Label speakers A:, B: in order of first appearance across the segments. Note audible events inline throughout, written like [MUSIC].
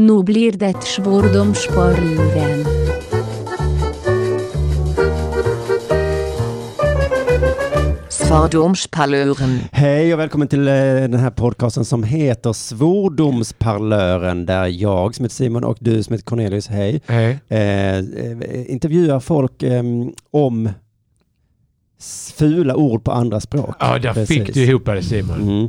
A: Nu blir det svordomsparluren.
B: Svordomsparlören.
C: Hej och välkommen till eh, den här podcasten som heter Svordomsparlören där jag som heter Simon och du som heter Cornelius, hej,
D: Hej.
C: eh, eh, intervjuar folk ehm, om s- fula ord på andra språk.
D: Ja, där
C: Precis.
D: fick du ihop det Simon.
C: Mm.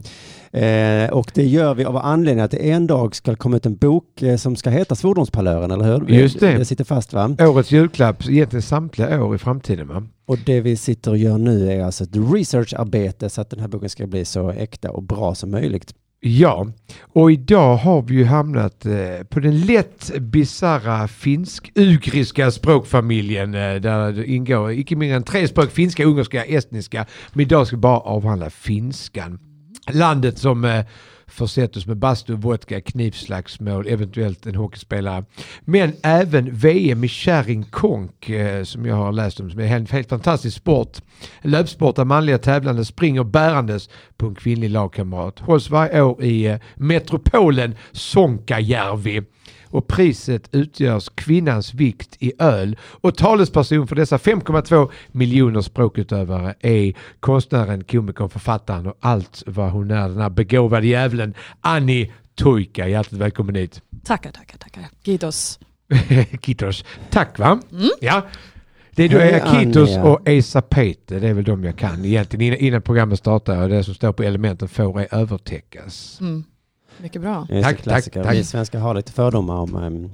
C: Eh, och det gör vi av anledningen att det en dag ska komma ut en bok eh, som ska heta Svordomsparlören, eller hur?
D: Just det.
C: Det sitter fast va?
D: Årets julklapp, egentligen samtliga år i framtiden va?
C: Och det vi sitter och gör nu är alltså ett researcharbete så att den här boken ska bli så äkta och bra som möjligt.
D: Ja, och idag har vi ju hamnat eh, på den lätt bisarra finsk-ugriska språkfamiljen eh, där det ingår icke mindre än tre språk, finska, ungerska, estniska. Men idag ska vi bara avhandla finskan. Landet som eh, försett oss med bastu, vodka, knivslagsmål, eventuellt en hockeyspelare. Men även VM i kärringkonk eh, som jag har läst om som är en helt, helt fantastisk sport. En löpsport där manliga tävlande springer bärandes på en kvinnlig lagkamrat. Hålls varje år i eh, metropolen Sonkajärvi. Och priset utgörs kvinnans vikt i öl. Och talesperson för dessa 5,2 miljoner språkutövare är konstnären, komikern, författaren och allt vad hon är, den här begåvade djävulen Annie Tuika. Hjärtligt välkommen hit. [LAUGHS]
E: Tackar, tackar, tackar. Kiitos.
D: Kitos. Tack va? Ja. Det är då
C: Hej,
D: Ea Kitos
C: Anja.
D: och Esa Pete, det är väl de jag kan egentligen innan, innan programmet startar och det som står på elementen får ej övertäckas.
E: Mm. Mycket bra.
C: Just
D: Tack,
C: det, klassiker.
D: tack, tack.
C: Vi svenskar har lite fördomar om, ehm,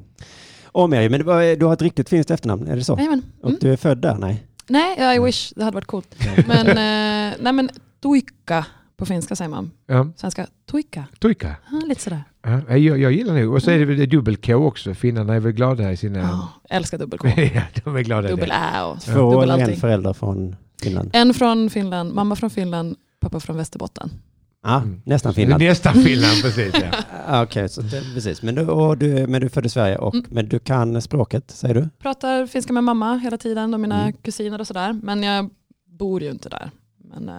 C: om er. Men det var, du har ett riktigt finskt efternamn, är det så?
E: Jajamän.
C: Och
E: Mm.
C: du är född där? Nej.
E: Nej, I wish. Det hade varit coolt. Men, eh, nej, men tuikka på finska säger man.
D: Ja,
E: Svenska tuikka.
D: Tuika.
E: Ja, lite sådär.
D: Ja, jag, jag gillar nog, och så är det väl det dubbel-K också, finnarna är väl glada i sina...
E: Ja, älskar dubbel-K.
D: [LAUGHS] ja, de är glada i
E: Dubbel
D: det.
E: ä
C: [LAUGHS]
E: och
C: Två
E: dubbel
C: eller en
E: allting.
C: förälder från Finland?
E: En från Finland, mamma från Finland, pappa från Västerbotten.
C: Ja,
D: Mm.
C: nästan Finland.
D: Nästan Finland, precis
E: [LAUGHS]
D: ja.
C: Ah, Okej, så det- precis. Men du, och du, men du är född i Sverige, och,
E: Mm.
C: men du kan språket, säger du?
E: Pratar finska med mamma hela tiden och mina
C: Mm.
E: kusiner och sådär. Men jag bor ju inte där. Men, eh,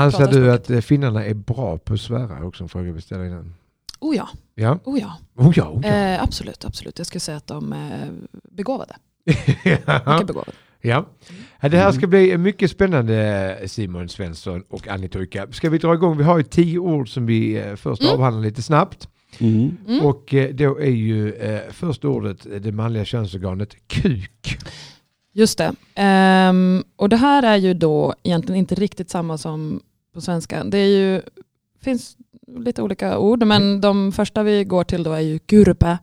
D: Anser
E: Pratar
D: du
E: språket.
D: att eh, finnarna är bra på att svära också, en fråga vi ställde innan.
E: oh ja,
D: Ja,
E: oh ja.
D: oh ja, oh ja.
E: Eh, absolut, absolut. Jag skulle säga att de är begåvade.
D: [LAUGHS] ja.
E: Mycket Mm. begåvade.
D: Ja. Ja, det här ska bli mycket spännande Simon Svensson och Annie Tuika. Ska vi dra igång? Vi har ju tio ord som vi eh, först
E: Mm.
D: avhandlar lite snabbt.
C: Mm.
E: Mm.
D: Och eh, då är ju eh, första ordet eh, det manliga könsorganet kuk.
E: Just det. Ehm, och det här är ju då egentligen inte riktigt samma som på svenska. Det är ju, finns lite olika ord, men
D: Mm.
E: de första vi går till då är ju gurpa.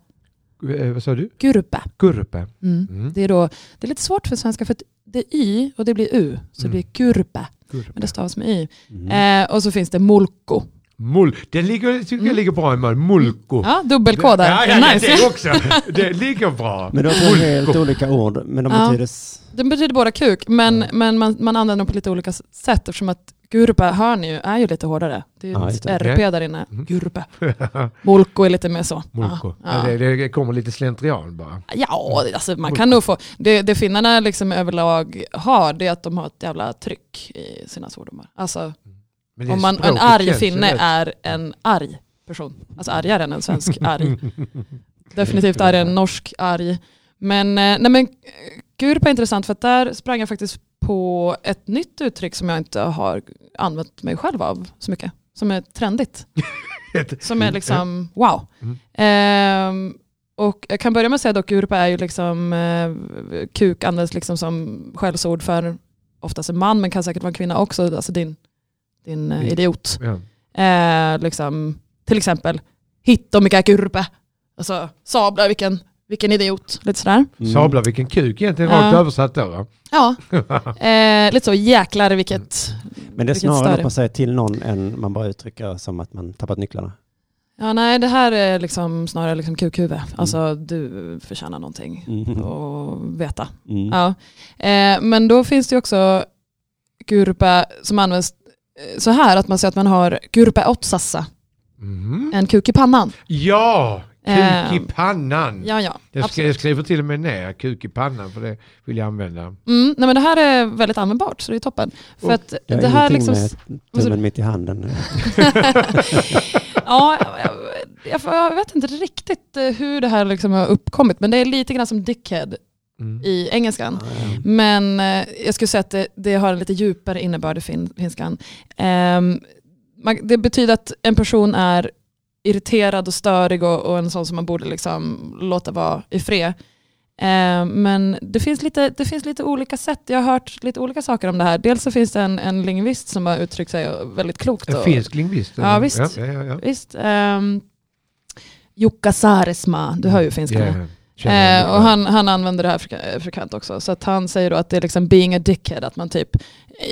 D: Eh, vad sa du?
E: gurpa.
D: Kurpe.
E: Mm.
D: Mm.
E: Det, är då, det är lite svårt för svenska för att det är y och det blir u, så det
D: Mm.
E: blir gurpa. Men
D: Kurpe.
E: det stavas med y.
C: Mm.
E: Eh, och så finns det mulko.
D: Oh. Mul. Den ligger, tycker jag
E: Mm.
D: ligger bra i mun. Mulko.
E: Ja, dubbel-k där.
D: Ja, ja, ja,
E: nice.
D: det också. Det ligger bra.
C: [LAUGHS] Men du har två helt olika ord, men de
E: Ja.
C: betyder... s-
E: Den betyder båda kuk, men,
C: Ja.
E: men man, man använder dem på lite olika s- sätt eftersom att gurpa, hör ni ju, är ju lite hårdare. Det är ju
C: Ja, just
E: ett
C: det.
E: RP där inne.
C: [LAUGHS]
D: Mm.
E: Gurpa. Molko är lite mer så.
D: Mulko. Ja,
E: Ja, ja.
D: det, det kommer lite slentrian bara.
E: ja alltså man kan nog få... Det, det finnarna liksom överlag har, det är att de har ett jävla tryck i sina svordomar. Alltså
D: Men det är
E: om man, en
D: språket
E: arg
D: känns ju
E: finne
D: rätt.
E: är en arg person. Alltså argare än
D: [LAUGHS]
E: en svensk arg. Definitivt argare än en norsk arg. Men, eh, nej men eh, gurpa är intressant för att där sprang jag faktiskt på ett nytt uttryck som jag inte har använt mig själv av så mycket. Som är trendigt. som är liksom wow.
D: Mm.
E: Ehm, och jag kan börja med att säga dock gurpa är ju liksom, eh, kuk används liksom som skällsord för oftast en man men kan säkert vara en kvinna också. Alltså din, din eh,
D: Din-
E: idiot.
D: Ja.
E: Eh, liksom, till exempel, hitta vilka kurpe. Alltså, sabla vilken, vilken idiot. Lite sådär.
C: Mm.
D: Sabla vilken kuk egentligen,
E: Ja.
D: rakt översatt då. va?
E: Ja, eh, lite så jäklar vilket.
C: Men det är
E: vilket
C: snarare
E: större.
C: något man säger till någon än man bara uttrycker som att man tappat nycklarna.
E: Ja, nej, det här är liksom snarare liksom kukhuvud. Alltså, du förtjänar någonting
C: Mm.
E: och veta.
C: Mm.
E: Ja. Eh, men då finns det ju också kurpe som används eh, så här, att man säger att man har kurpe otsassa,
D: Mhm.
E: en kuk i pannan.
D: Ja, kuk i
E: Ehm,
D: pannan.
E: Ja, ja.
D: jag, skri-
E: absolut.
D: jag skriver till och med ner kuk i pannan för det vill jag använda.
E: Mm, nej, men det här är väldigt användbart, så det är toppen. För
D: Och
E: att
C: Det har
E: det här alltså-
C: ingenting
E: liksom... [LAUGHS]
C: med tummen mitt i handen.
E: ja, jag, jag, jag vet inte riktigt eh, hur det här liksom har uppkommit, men det är lite grann som dickhead
D: Mm.
E: i engelskan. Men eh, jag skulle säga att det, det har en lite djupare innebörd i fin, finskan. Ehm, man, det betyder att en person är irriterad och störig och, och en sån som man borde liksom låta vara i fred. Ehm, men det finns, lite, det finns lite olika sätt, jag har hört lite olika saker om det här. Dels så finns det en, en lingvist som har uttryckt sig väldigt klokt.
D: En
E: Och,
D: finsk lingvist?
E: Ja,
D: eller?
E: visst.
D: Ja, ja, ja.
E: Visst. ehm, Jukka Saaresmaa, du hör ju finskan.
D: Ja, känner jag
E: Eh,
D: mycket
E: och
D: väl.
E: han, han använder det här frek- eh, frekvent också. Så att han säger då att det är liksom being a dickhead. Att man typ,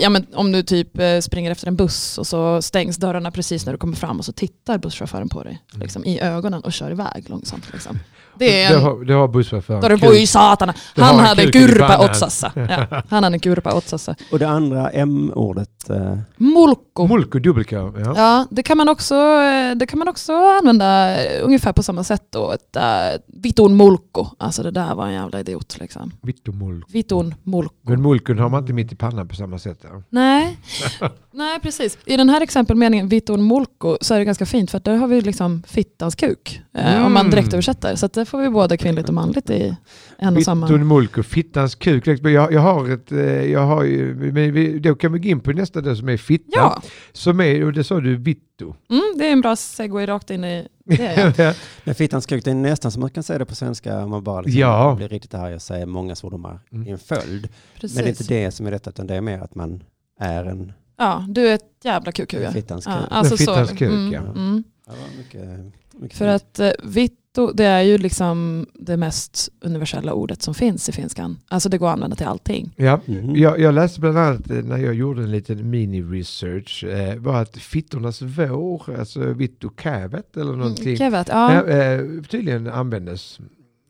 E: ja men om du typ eh, springer efter en buss och så stängs dörrarna precis när du kommer fram och så tittar busschauffören på dig liksom, i ögonen och kör iväg långsamt. Liksom. Det är
D: Mm. Det
E: en...
D: har, det har busschauffören.
E: Då är det
D: Kul.
E: boj satana.
D: Det har
E: Han
D: en
E: hade
D: kuk i
E: gurpa
D: pannan.
E: åt
D: [LAUGHS]
E: Sassa. Ja, han hade gurpa åt alltså. Sassa.
C: Och det andra M-ordet. eh,
E: Mulko.
D: Mulko dubbelkö. Ja.
E: Ja, det kan man också, eh, det kan man också använda eh, ungefär på samma sätt då. Ett, äh, vitun mulko. Alltså det där var en jävla idiot liksom.
D: Vittu mulko.
E: Vitun mulko.
D: Men mulkon har man inte mitt i pannan på samma sätt. Ja.
E: Nej. [LAUGHS] Nej, precis. I den här exempelmeningen, Vitor Molko, så är det ganska fint för att där har vi liksom fittans kuk. Eh, om man
D: Mm.
E: direkt översätter. Så att där får vi både kvinnligt och manligt i en och samma.
D: Vittun mulko, fittans kuk. Jag, jag har ett, eh, jag har ju, men vi, då kan vi gå in på nästa där som är fitta.
E: Ja,
D: Som är, och det sa du, vittu.
E: mm, det är en bra segway rakt in i det.
D: [LAUGHS]
E: Ja.
C: Men fittans kuk, det är nästan som man kan säga det på svenska om man bara liksom
D: Ja.
C: blir riktigt arg och säger många svordomar
D: Mm.
C: i en följd. Men det är inte
E: Precis.
C: det som är detta, utan det är mer att man är en
E: Ja, du är ett jävla kukhuvud.
C: fittans kuk.
E: Ja, alltså
D: En fittans
E: så.
D: kuk,
E: Mm,
D: ja.
E: mm.
C: Det var mycket, mycket
E: För
C: fint.
E: att eh, vitto, det är ju liksom det mest universella ordet som finns i finskan. Alltså det går att använda till allting.
D: Ja.
C: Mhm.
D: Jag, jag läste bland annat eh, när jag gjorde en liten mini-research eh, var att fittornas vår, alltså vittu kävet eller någonting,
E: Mm, vet, ja.
D: eh, eh, tydligen användes.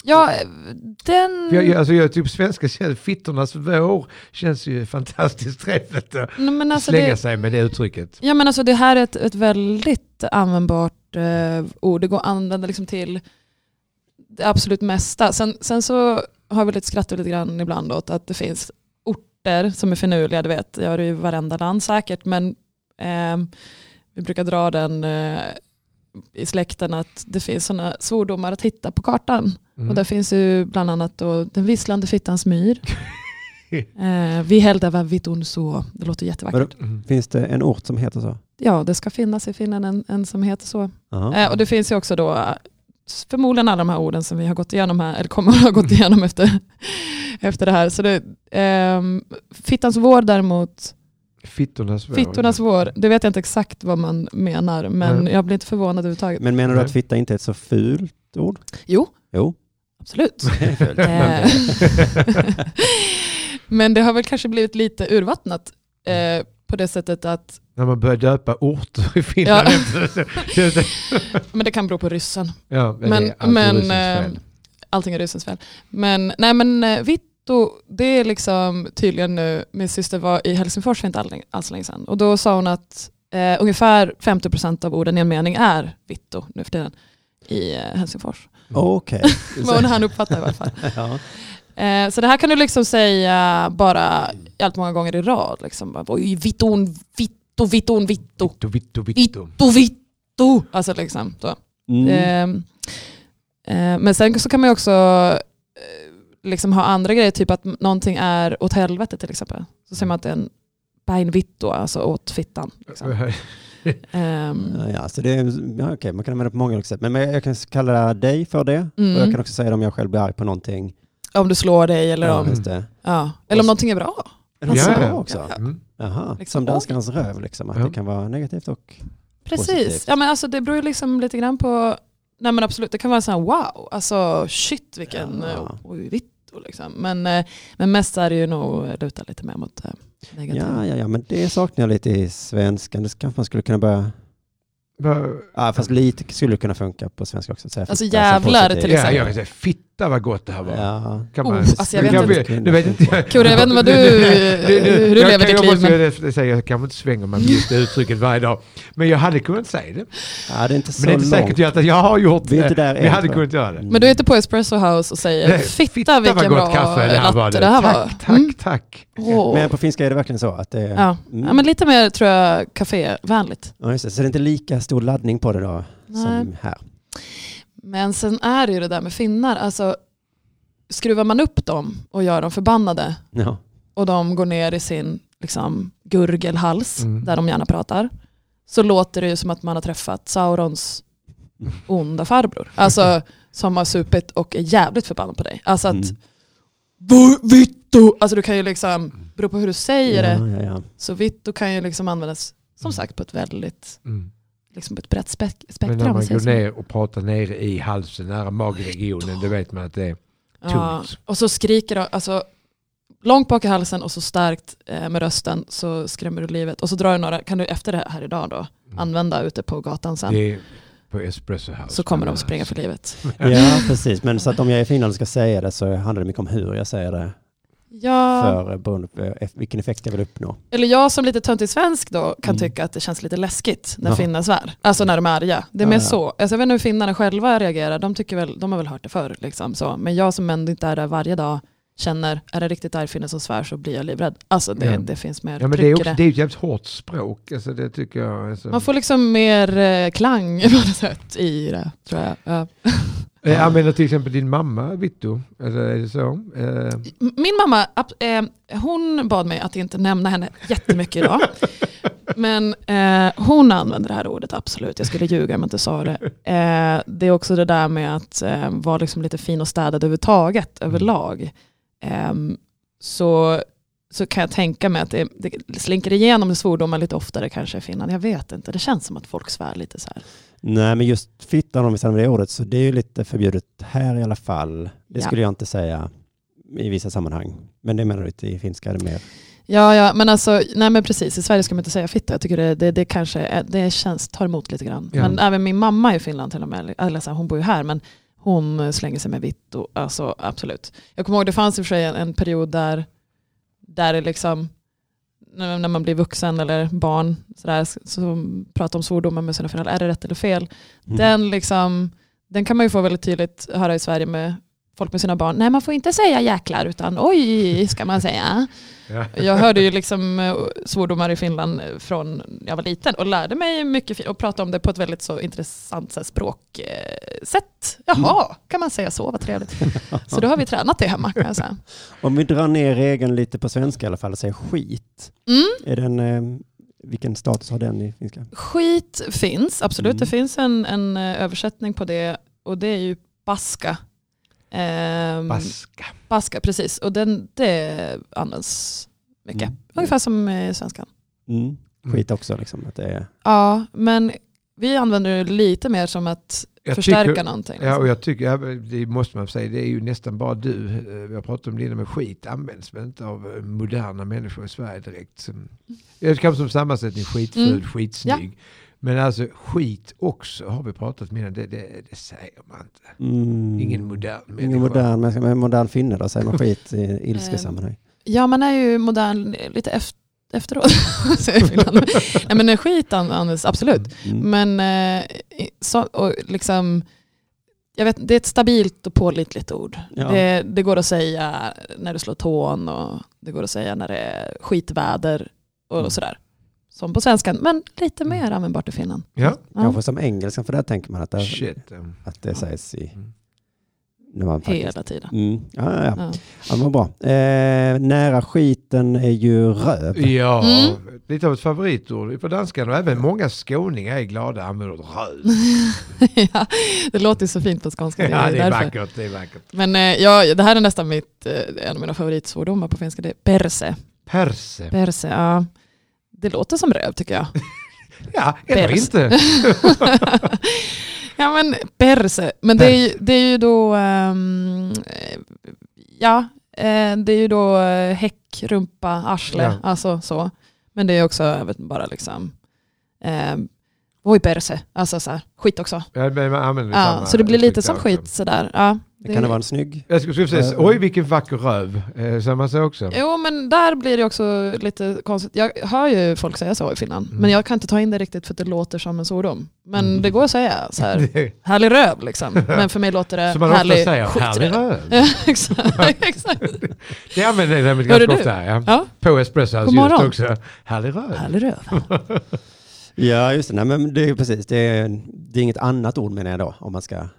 E: ja, eh, den...
D: För jag, jag, alltså jag typ svenska känns, fittornas vår känns ju fantastiskt träffigt att
E: Nej, men alltså
D: slänga
E: det,
D: sig med det uttrycket.
E: ja, men alltså det här är ett, ett väldigt användbart eh, ord. Det går att använda liksom till det absolut mesta. Sen, sen så har vi lite skrattat lite grann ibland åt att det finns orter som är finurliga. Du vet, jag har det i varenda land säkert, men ehm, vi brukar dra den eh, i släkten att det finns sådana svordomar att hitta på kartan.
D: Mm.
E: Och där finns ju bland annat då den visslande fittans myr. eh, vi hällde var vitun så. Det låter jättevackert.
D: Mm.
C: Finns det en ort som heter så?
E: Ja, det ska finnas i Finland en, en som heter så.
C: Jaha.
E: Eh, och det finns ju också då eh, förmodligen alla de här orden som vi har gått igenom här, eller kommer att ha gått igenom efter, [LAUGHS] efter det här. Så det, ehm, fittans vår däremot,
D: Fittornas vår.
E: fittornas vår, det vet jag inte exakt vad man menar, men
D: Nej.
E: jag blir inte förvånad överhuvudtaget.
C: Men menar du
D: Nej.
C: att fitta inte är ett så fult ord?
E: Jo,
C: Jo.
E: absolut.
C: det är fult.
E: Eh, [LAUGHS] men det har väl kanske blivit lite urvattnat eh, på det sättet att
D: När man börjar döpa orter i Finland. [LAUGHS] Ja.
E: [LAUGHS] Men det kan bero på ryssen.
D: ja, men,
E: Men-
D: det är alltid ryssens
E: men, eh,
D: fel.
E: Allting är ryssens fel. Men, nej men eh, Vitto, det är liksom tydligen nu, min syster var i Helsingfors för inte all- alls länge sedan. Och då sa hon att eh, ungefär 50% av orden i en mening är Vitto nu för tiden i eh, Helsingfors.
C: [LAUGHS] Okej.
E: Vad hon hann uppfatta i alla fall.
C: ja.
E: Eh, så det här kan du liksom säga bara allt många gånger i rad. Liksom. Bara, Oj, Vitton, Vitto, Vitton, Vitto,
D: Vittu, vittu, vittu.
E: Vitto, Vitto. Alltså liksom så.
C: mm.
E: Ehm, eh, men sen så kan man ju också eh, liksom ha andra grejer, typ att m- någonting är åt helvete till exempel. Så säger man att det är en beinvitto, alltså åt fittan. Liksom. Ehm,
C: Ja, så det är, ja, okej, man kan använda det på många olika sätt. Men men jag kan kalla dig för det.
E: Mm.
C: Och jag kan också säga det om jag själv blir arg på någonting.
E: om du slår dig eller
C: Ja,
E: om,
C: just det.
E: ja. eller om någonting är bra.
C: Är det
D: Ja,
C: så
D: ja.
C: bra också?
E: Ja,
D: Mm.
C: Jaha,
E: Liksom,
C: som danskarens röv liksom. Att
D: Ja.
C: det kan vara negativt och...
E: Precis,
C: Positivt.
E: ja, men alltså, det beror ju liksom lite grann på, nej men absolut, det kan vara en sån här wow, alltså shit vilken
C: Ja.
E: ja. oj, vitto liksom. Men, eh, men mest är det ju nog luta lite mer mot eh, negativt.
C: Ja, ja, ja, men det saknar jag lite i svenskan. Det kanske man skulle kunna börja...
D: Vad-
C: Ja, fast lite skulle kunna funka på svenska också. att säga
E: Alltså,
C: fitta som
E: jävlar,
C: positivt.
E: till
D: Ja,
E: exempel.
D: jag kan säga fitta vad gott det här var.
C: Ja.
D: Kan
E: Oh,
D: man,
E: alltså, jag vet
D: kan
C: inte.
D: vi- nu vet inte jag.
E: Kurre, jag vet inte vad du- hur du
D: jag,
E: lever ditt
D: jag,
E: liv,
D: måste ju säga, jag kanske inte svänger mig med just det uttrycket varje dag. Men jag hade kunnat säga det. Men
C: ja, det är inte så
D: det är inte
C: långt.
D: säkert att jag har gjort
C: Vi är
D: det.
C: inte där
D: men
C: än,
D: jag hade
C: tror jag.
D: kunnat göra det.
E: Men du är inte på Espresso House och säger
D: Nej,
E: fitta,
D: vad gott
E: vilken bra
D: kaffe det här var
E: latte
D: det.
E: det här var.
D: Tack, tack,
E: Mm.
D: tack.
E: Åh.
C: Men på finska är det verkligen så att det är...
E: ja.
C: Mm.
E: ja, men lite mer tror jag kafévänligt.
C: Ja, just det. Så det är inte lika stor laddning på det då?
E: Nej.
C: som här.
E: Men sen är det ju det där med finnar. Alltså, skruvar man upp dem och gör dem förbannade
C: Ja.
E: och de går ner i sin liksom, gurgelhals
D: Mm.
E: där de gärna pratar så låter det ju som att man har träffat Saurons onda farbror. Alltså som har supit och är jävligt förbannad på dig. Alltså att,
C: Mm.
E: "Vad, Vittu! Alltså du kan ju liksom, bero på hur du säger det,
C: Ja, ja, ja.
E: så vittu kan ju liksom användas som sagt på ett väldigt,
D: Mm.
E: liksom på ett brett spek-
D: Men
E: spektrum.
D: när
E: om
D: man
E: säger
D: går
E: så.
D: ner och pratar ner i halsen, nära magregionen, då vet man att det är
E: Ja,
D: tungt.
E: och så skriker de, alltså långt bak i halsen och så starkt eh, med rösten så skrämmer du livet. Och så drar du några, kan du efter det här idag då, använda ute på gatan sen.
D: Mm. Det är på Espresso House.
E: Så kommer de springa för livet.
C: ja, precis. Men så att om jag i Finland ska säga det så handlar det mycket om hur jag säger det.
E: Ja,
C: För eh, beroende på eh, vilken effekt jag vill uppnå.
E: eller jag som lite töntig svensk då kan
C: Mm.
E: tycka att det känns lite läskigt när
C: Ja.
E: finnar svär. Alltså när de är arga. Det är
C: Ja,
E: mer
C: ja.
E: så. Alltså jag vet inte hur finnarna själva reagerar, de, tycker väl, de har väl hört det förr. Liksom, så. Men jag som ändå inte är där varje dag känner, är det riktigt arg finne som svär så blir jag livrädd. Alltså det,
D: Ja.
E: det finns mer
D: Ja, men
E: tryck
D: det är,
E: i
D: också,
E: det.
D: det är ett jävligt hårt språk. Alltså, det tycker jag. Alltså.
E: Man får liksom mer eh, klang [LAUGHS] på något sätt i det, tror jag. Ja.
D: Eh, Använder till exempel din mamma Vittu? Eller är det så? Eh,
E: M- Min mamma, ab- eh, hon bad mig att inte nämna henne jättemycket idag. Men eh, hon använder det här ordet, absolut. Jag skulle ljuga om jag inte sa det. Eh, det är också det där med att eh, vara liksom lite fin och städad överhuvudtaget, överlag. Ehm, så, så kan jag tänka mig att det, det slinker igenom svordomar lite oftare kanske i Finland. Jag vet inte, det känns som att folk svär lite så här.
C: Nej, men just fittan om vi stannar vid det ordet, så det är ju lite förbjudet här i alla fall. Det
E: Ja.
C: skulle jag inte säga i vissa sammanhang. Men det menar du inte i finska? Är det mer?
E: Ja, ja, men alltså, nej men precis, i Sverige ska man inte säga fitta. Jag tycker det, det, det kanske är, det känns, tar emot lite grann.
D: Ja.
E: Men även min mamma i Finland till och med, eller- eller så här, hon bor ju här, men hon eh, slänger sig med vitt och alltså absolut. Jag kommer ihåg, det fanns i och för sig en, en period där, där det liksom, när när man blir vuxen eller barn, så, där, så- så pratar om svordomar med sina föräldrar, är det rätt eller fel?
C: Mm. [LAUGHS]
E: Den, liksom, den kan man ju få väldigt tydligt höra i Sverige med folk med sina barn. Nej, man får inte säga jäklar, utan oj, ska man säga.
D: Ja.
E: Jag hörde ju liksom eh, svordomar i Finland eh, från jag var liten och lärde mig mycket fi- och pratade om det på ett väldigt så intressant så här, språksätt. Jaha, kan man säga så, vad trevligt. Så då har vi tränat det hemma kan jag säga.
C: Om vi drar ner regeln lite på svenska i alla fall och säger skit.
E: Mm.
C: Är den, eh, vilken status har den i finska?
E: [LAUGHS] Skit finns, absolut.
C: Mm.
E: Det finns en, en eh, översättning på det och det är ju baska.
D: [LAUGHS]
E: Ehm,
D: Baska.
E: Baska, precis. Och den, det används mycket.
C: Mm.
E: Ungefär som i svenskan.
C: Mm. Skit också liksom. Att det är...
E: Ja, men vi använder det lite mer som att
D: Jag
E: förstärka
D: tycker-
E: någonting.
D: Ja, och jag tycker, ja, det måste man säga, det är ju nästan bara du. Eh, Vi har pratat om det innan, men skit används väl inte av eh, moderna människor i Sverige direkt. Som- Det är kanske som sammansättning, skitful,
E: Mm.
D: skitsnygg. Men alltså skit också har vi pratat om innan, det, det, det säger man inte.
C: Mm.
D: Ingen modern människa.
C: Ingen modern, men men modern finne då, säger man skit i
E: [LAUGHS]
C: ilskesammanhang.
E: Ja, man är ju modern lite efter, efteråt. [LAUGHS] säger
D: [LAUGHS]
E: Finland. Nej, men skit an- används absolut.
C: Mm.
E: Men eh, i- så, och liksom, jag vet, det är ett stabilt och pålitligt ord.
C: Ja.
E: Det, det går att säga när du slår tån och det går att säga när det är skitväder och
C: Mm.
E: sådär. Som på svenskan, men lite
D: Mm.
E: mer användbart i Finland.
D: Ja,
E: Ja,
C: Kanske som engelskan, för där tänker man att det,
D: shit. eh,
C: att det sägs i...
D: Mm.
C: När man faktiskt...
E: hela tiden.
C: Mm. Ja, ja, ja.
E: Ja.
C: ja men bra. Eh, nära skiten är ju röv.
D: Ja,
E: Mm.
D: lite av ett favoritord för danskarna och även många skåningar är glada och använder ordet röd.
E: ja, [LAUGHS] det låter ju så fint på skånska. det är
D: Ja, det är
E: därför.
D: vackert, det är vackert.
E: Men eh, ja, det här är nästan mitt, eh, en av mina favoritsvordomar på finska. Det är perse.
D: Perse.
E: perse ja. Det låter som röv tycker jag. [LAUGHS]
D: Ja, eller
E: Pers.
D: inte.
E: Ja men perse, men det är ju, det är ju då, ehm, eh, ja, eh, det är ju då eh, häck, rumpa, arsle,
D: Ja.
E: alltså så. Men det är också jag vet, bara liksom, eh, oj perse, alltså så här, skit också.
D: Ja, men man använder
E: Ja,
D: samma
E: så det blir lite
D: uttryck
E: som
D: där
E: skit
D: också.
E: sådär. Ja,
C: Kan det vara en snygg?
D: Jag skulle skulle säga, så- oj vilken vacker röv, eh, säger man så också?
E: Jo men där blir det också lite konstigt, jag hör ju folk säga så i Finland,
D: Mm.
E: men jag kan inte ta in det riktigt för det låter som en svordom. Men
C: Mm.
E: det går att säga så
D: [LAUGHS]
E: här,
D: Det-
E: härlig
D: [LAUGHS]
E: röv liksom, men för mig låter
D: [LAUGHS]
E: det
D: Som man ofta
E: Eh, härlig
D: säger, härlig
E: skitröv.
D: röv.
E: Ja, [LAUGHS] exakt.
D: [LAUGHS]
E: exakt.
D: Det använder jag nämligen
E: Hörde
D: ganska
E: du?
D: ofta. Ja.
E: Ja.
D: På Espresso House
E: God
D: just
E: morgon.
D: också. Härlig röv.
E: Härlig röv.
C: Ja, just det. Nej, men det är precis. Det är, det är inget annat ord menar jag då, om man ska...
E: Eh,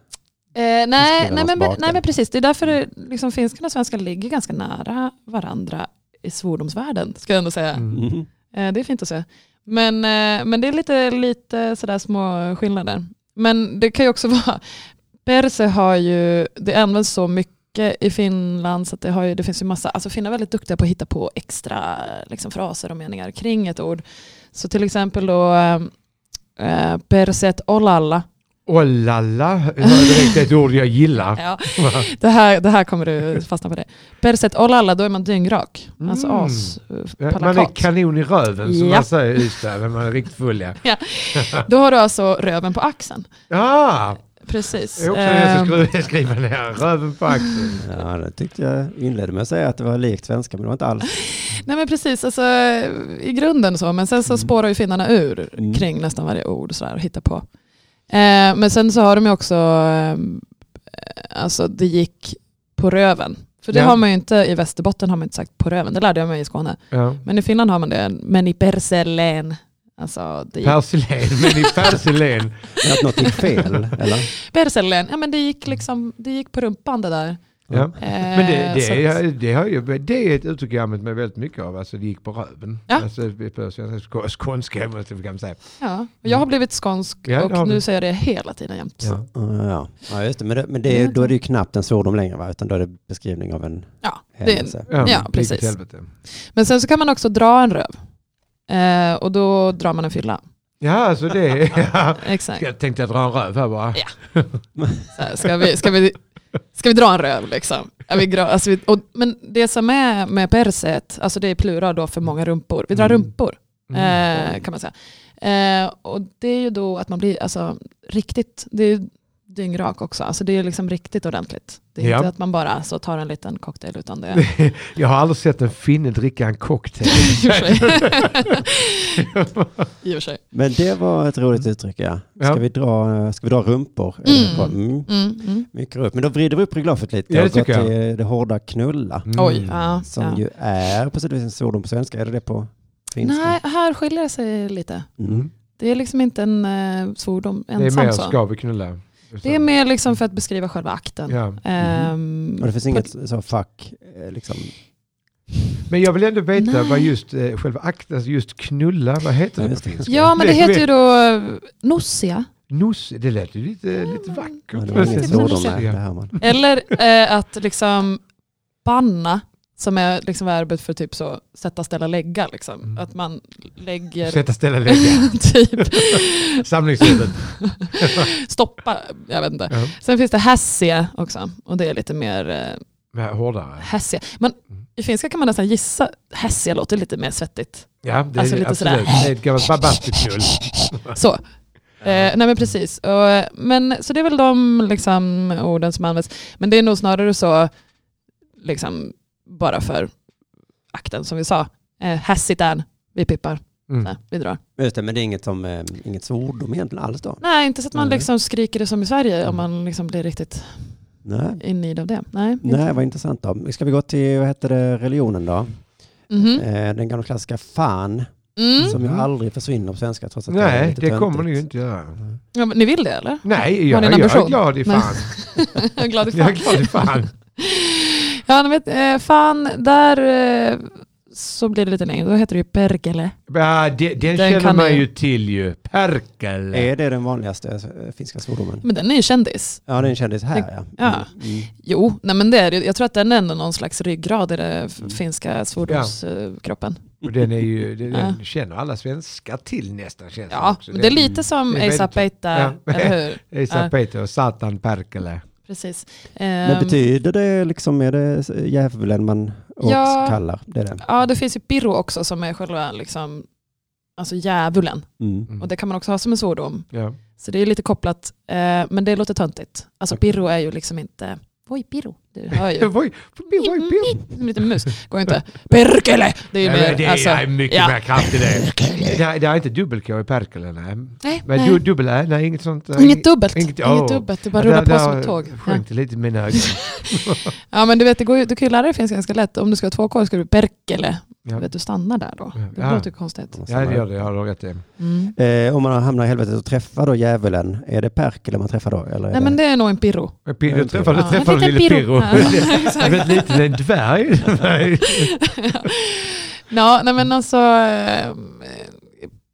E: nej,
C: skriver
E: nej,
C: oss
E: men,
C: bak
E: nej
C: där.
E: men precis, det är därför det, liksom, finskan och svenskan ligger ganska nära varandra i svordomsvärlden, ska jag ändå säga.
D: Mm.
C: Mhm.
E: Eh, det är fint att se. Men, eh, men det är lite, lite sådär små skillnader. Men det kan ju också [LAUGHS] vara, perse har ju, det används så mycket i Finland så att det, har ju, det finns ju massa, alltså finnar är väldigt duktiga på att hitta på extra liksom, fraser och meningar kring ett ord. Så till exempel då eh, eh, perset olalla.
D: Åh la la, det
E: [LAUGHS]
D: var direkt ett ord jag gillar. [LAUGHS]
E: Ja. Det, här, det här kommer du fastna på det. Perset olalla, då är man dyngrak. Alltså
D: Mm.
E: as, eh,
D: Man är
E: palakat.
D: kanon i röven som
E: Ja.
D: man säger i Ystad när man är riktigt full. Ja,
E: Då har du alltså röven på axeln.
D: ah,
E: Precis.
D: det är också jag
E: Ehm,
D: ska skru- [LAUGHS] skriva ner. Röven på axeln.
C: Ja, det tyckte jag inledde med att säga att det var likt svenska, men det var inte alls.
E: Nej men precis, alltså, i grunden så. Men sen
D: Mm.
E: så spårar ju finnarna ur
C: Mm.
E: kring nästan varje ord och, sådär, och hittar på. Eh, men sen så har de ju också, eh, alltså det gick på röven. För det
D: Ja.
E: har man ju inte, i Västerbotten har man inte sagt på röven, det lärde jag mig i Skåne.
D: Ja.
E: Men i Finland har man det, men i perselen. Alltså, det gick,
D: Persilén, men i persilén.
C: Men att något gick fel, eller?
E: perselen, ja men det gick liksom, det gick på rumpan det där.
D: Ja.
E: Eh,
D: [LAUGHS] Men det,
E: så
D: det,
E: att-
D: är, det, har ju, det är ett uttryck jag använt mig väldigt mycket av, alltså det gick på röven.
E: Ja.
D: Alltså, på svenska, skå- skånska måste vi kanske säga.
E: ja. Och Jag har blivit skånsk
D: Ja, det har
E: och
D: vi.
E: nu säger jag det hela tiden jämt.
D: Ja.
C: Ja, ja. ja just det. Men, det, men det, är- då är det ju knappt en svordom längre, va? utan då är det beskrivning av en
E: Ja, det,
C: händelse.
D: men
E: Ja,
D: vilket
E: precis.
D: helvete.
E: Men sen så kan man också dra en röv. Eh, och då drar man en fylla.
D: Ja, alltså det [LAUGHS] ja.
E: Exakt.
D: Jag tänkte jag dra en röv här bara.
E: Ja. Så här, ska, vi, ska, vi, ska vi dra en röv liksom? Är vi gra- alltså vi, och, men det som är med perset, alltså det är plural då för många rumpor. Vi drar
D: Mm.
E: rumpor eh, kan man säga. Eh, och det är ju då att man blir alltså, riktigt, det är ju dyngrak också. Alltså det är liksom riktigt ordentligt. Det är
D: Ja.
E: inte att man bara så tar en liten cocktail
D: [LAUGHS]
E: utan det. är-
D: Mm. Jag har aldrig sett en finne dricka en cocktail.
E: I
D: [LAUGHS]
E: och för sig. [LAUGHS] I och för sig.
C: Men det var ett roligt uttryck, ja. Ska,
D: Ja.
C: Vi, dra, ska vi dra rumpor?
E: Mm.
C: Mm.
E: Mm, mm.
C: Mycket upp. Men då vrider vi upp reglaget lite
D: Ja, det
C: och går
D: tycker jag. Mm.
C: till det hårda knulla.
E: Oj, ja.
C: Som
E: ja.
C: ju är på sätt och vis en svordom på svenska. Är det det på finska?
E: Nej, här skiljer det sig lite.
C: Mm.
E: Det är liksom inte en eh, svordom
D: Det är
E: ensam.
D: mer
E: så.
D: ska vi knulla.
E: Det är mer liksom för att beskriva själva akten.
D: Ja.
E: Ehm,
C: Och det finns inget så fuck, eh, liksom.
D: Men jag vill ändå veta
E: Nej.
D: vad just eh, själva akten, alltså just knulla, vad heter det på
C: Just det.
D: finska?
E: ja, men det heter ju då eh, Nosia.
D: Nuss, det lät ju lite, lite
C: Ja,
D: vackert.
C: det var inget
E: precis.
C: svordom
E: Ja.
C: där, det här man.
E: Eller eh, att liksom banna, som är liksom verbet för typ så sätta, ställa, lägga. Liksom.
D: Mm.
E: Att man lägger,
D: Sätta, ställa, lägga.
E: [LAUGHS] typ
D: Samlingshuset.
E: stoppa, jag vet inte.
D: Ja.
E: Sen finns det hässiga också, och det är lite mer eh,
D: Men Hårdare.
E: hässiga. Men i finska kan man nästan gissa, hässiga låter lite mer svettigt.
D: Ja, det
E: Alltså
D: är
E: lite
D: absolut.
E: sådär.
D: Det är ett gammalt babastiknull.
E: Så. Eh, nej men precis. Och, eh, men, så det är väl de liksom, orden som används. Men det är nog snarare så, liksom, bara för akten som vi sa. Eh, Hässigt är vi pippar,
D: Mm.
E: nej, vi drar.
C: Just det, men det är inget, som, eh, inget svordom egentligen alls då?
E: Nej, inte så att man
C: Nej.
E: liksom skriker det som i Sverige om man liksom blir riktigt
C: Nej.
E: in need av det. Nej, inte.
C: Nej, vad intressant då. Ska vi gå till, vad heter det, religionen då?
E: Mhm.
C: Eh, Den gamla klassiska fan,
E: Mm.
C: som ju
D: Mm.
C: aldrig försvinner på svenska trots att det är
D: Nej,
C: lite
D: det kommer ni
C: töntigt.
D: ju inte göra.
E: Ja, men ni vill det eller? [LAUGHS]
D: Nej,
E: Har
D: jag,
E: ni en
D: jag är
E: ambition?
D: glad i
E: Nej. [LAUGHS]
D: fan.
E: Jag är glad i
D: Jag är
E: fan.
D: glad i fan.
E: [LAUGHS] Ja, ni vet, eh, fan, där eh, så blir det lite längre. Då heter det ju perkele.
D: Ja, det, den,
E: Den
D: känner
E: kan
D: man
E: ni.
D: ju till ju. Perkele.
C: Är det den vanligaste eh, finska svordomen?
E: Men den är ju kändis.
C: Ja, den kändes här ja.
E: Ja.
C: Mm.
E: Jo, nej men det är det. Jag tror att den är ändå någon slags ryggrad i det
D: Mm.
E: f- finska svordomskroppen.
D: Och den är ju, den,
E: Ja.
D: den känner alla svenskar till nästan känns det
E: Ja,
D: också.
E: men det är lite som
D: det är
E: ASAP
D: väldigt-
E: Eita,
D: Ja. [LAUGHS]
E: eller hur? Ja.
D: Esa Peter och Satan Perkele.
E: Precis.
C: Men
E: Ehm,
C: betyder det liksom, är det djävulen man
E: Ja.
C: åkskallar? Det är det.
E: Ja, det finns ju Pirro också som är själva liksom, alltså djävulen.
C: Mm.
E: Och det kan man också ha som en svordom.
D: Ja.
E: Så det är lite kopplat, eh, men det låter töntigt. Alltså Pirro är ju liksom inte, oj Pirro,
D: [LAUGHS]
E: du hör ju.
D: Oj, förbi, oj, oj.
E: Som en liten mus, går
D: [LAUGHS]
E: ju inte. Perkele! Mm. Det är ju
D: Ja, men Det
E: mer,
D: är
E: alltså,
D: är mycket
E: ja.
D: mer kraft i det. Det är, det är inte dubbel-K i Perkele, nej.
E: nej,
D: Men
E: nej.
D: du, dubbel Ä, nej, inget sånt. eh,
E: Inget dubbelt,
D: inget-
E: inget,
D: åh.
E: dubbelt, det bara rullar på som ett tåg. Ja.
D: Sjönk det lite i mina ögon.
E: Ja men du vet, det går ju, du kan ju lära dig finska ganska lätt. Om du ska ha två k ska du perkele.
D: Ja.
E: Vet, du stannar där då. Det
D: Ja.
E: låter konstigt.
D: Ja, det gör det. Jag har lagat det.
E: Mm.
C: Eh, om man hamnar i helvetet och träffar då djävulen, är det Perkele man träffar då? Eller är
E: Nej men det är nog en pirro.
D: Pirro
C: Jag
D: träffade,
E: Ja,
D: träffade
E: en liten
D: lille Pirro. [LAUGHS]
E: Ja,
D: Han
E: exakt.
D: är liten, en dvärg.
E: [LAUGHS] Ja, nej men alltså eh,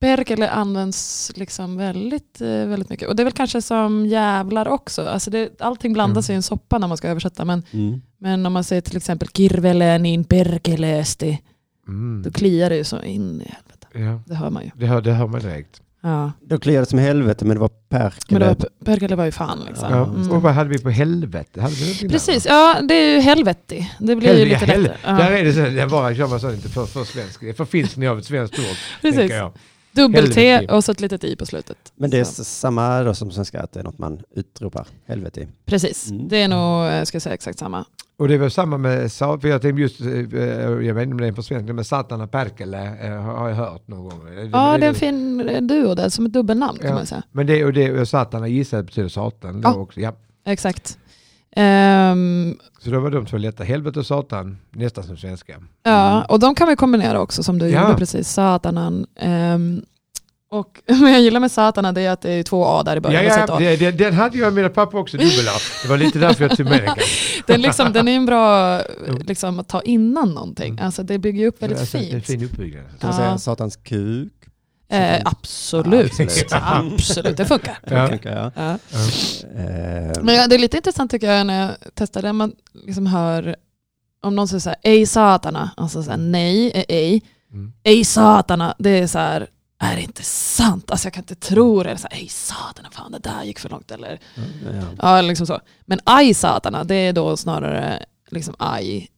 E: Perkele används liksom väldigt, eh, väldigt mycket. Och det är väl kanske som jävlar också. Alltså det, allting blandas
D: Mm.
E: i en soppa när man ska översätta. Men,
C: Mm.
E: men om man säger till exempel kirvelen in perkele esti,
D: Mm.
E: då kliar det ju så in i helvete.
D: Ja,
E: Det hör man ju.
D: det, hör, det hör man direkt.
E: Ja.
C: Då kliar det som helvete, men det var Perkele.
E: Men det var, perkele var ju fan liksom.
D: Ja.
E: Mm.
D: Och vad hade vi på helvete? Hade vi någonting där?
E: Precis, ja det är ju helvetti. Det blir ju
D: Helvete,
E: lite
D: hel-
E: lättare.
D: Där
E: Ja.
D: är det så, det är bara kör man så inte för, för svensk. Det är förfinskning av ett svenskt
E: [LAUGHS]
D: ord.
E: Precis.
D: tänker jag.
E: Dubbel-T
D: helvete.
E: och så ett litet i på slutet.
C: Men det är
E: Så.
C: s- samma då som svenska, att det är något man utropar. Helvete.
E: Precis,
C: Mm.
E: det är nog, jag ska säga exakt samma.
D: Och det var samma med, sa- för jag tänkte just, eh, jag vet inte om det är på svenska, men Satana Perkele eh, har jag hört någon gång. Det-
E: Ja, det är en
D: det-
E: fin eh, duo där, som ett dubbelnamn kan
D: Ja.
E: man säga.
D: Men det, och det, och Satana gissar jag betyder Satan då
E: Ja.
D: också. Ja.
E: Exakt. Ehm,
D: Så då var de två lätta, helvete och Satan, nästan som svenska.
E: ja,
C: Mm.
E: och de kan vi kombinera också som du
D: Ja.
E: gjorde precis, satanan. Ehm, och [LAUGHS] vad jag gillar med satana det är att det är två A där i
D: Ja,
E: början. och så ett
D: ja,
E: A.
D: det, det, den hade jag i mina papper också,
E: [LAUGHS]
D: dubbel-A. Det var lite därför jag tog med den kanske.
E: Den, liksom, den är en bra
D: [LAUGHS] Jo.
E: liksom, att ta innan någonting.
D: Mm.
E: Alltså, det bygger upp väldigt
D: Alltså,
E: fint.
D: En fin uppbyggnad. alltså.
C: Kan man
E: Ja.
C: säga satans kuk?
E: Eh, absolut.
C: Absolut.
E: Absolut.
D: [LAUGHS]
E: det funkar.
D: Ja.
C: Tänker jag.
E: Ja.
C: Eh,
E: Men ja, det är lite intressant tycker jag när jag testar det. Man liksom hör om någon säger så här, ej satana, alltså så här, nej, eh, ej.
D: Mm.
E: Ej satana, det är så här, är det inte sant? Alltså jag kan inte tro det. Eller så här, ej satana, fan det där gick för långt. Eller,
C: Eh, ja.
E: ja, liksom så. Men aj satana, det är då snarare liksom aj,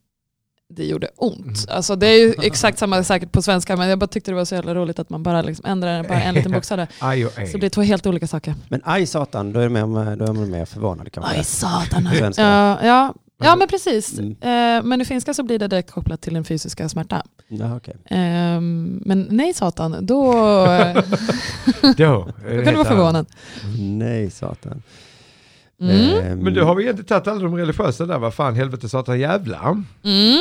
E: det gjorde ont. Alltså det är ju exakt samma säkert på svenska, men jag bara tyckte det var så jävla roligt att man bara liksom ändrar bara en liten bokstav där.
D: Aj och ej.
E: Så det blir två helt olika saker.
C: Men aj satan, då är, det mer, då är man mer förvånad kanske.
E: Aj satana.
C: Svenska.
E: Ja, ja.
D: Alltså,
E: ja men precis.
C: Mm.
E: Eh, Men i finska så blir det direkt kopplat till den fysiska smärta.
C: Ja, okej.
E: Eh, Men nej satan, då,
D: [LAUGHS]
E: eh, [LAUGHS]
D: Då,
E: då kan du vara förvånad.
C: Nej satan.
E: Mm.
C: Ehm,
D: Men då har vi egentligen tagit alla de religiösa där, vad fan helvete satan jävlar.
E: Mm.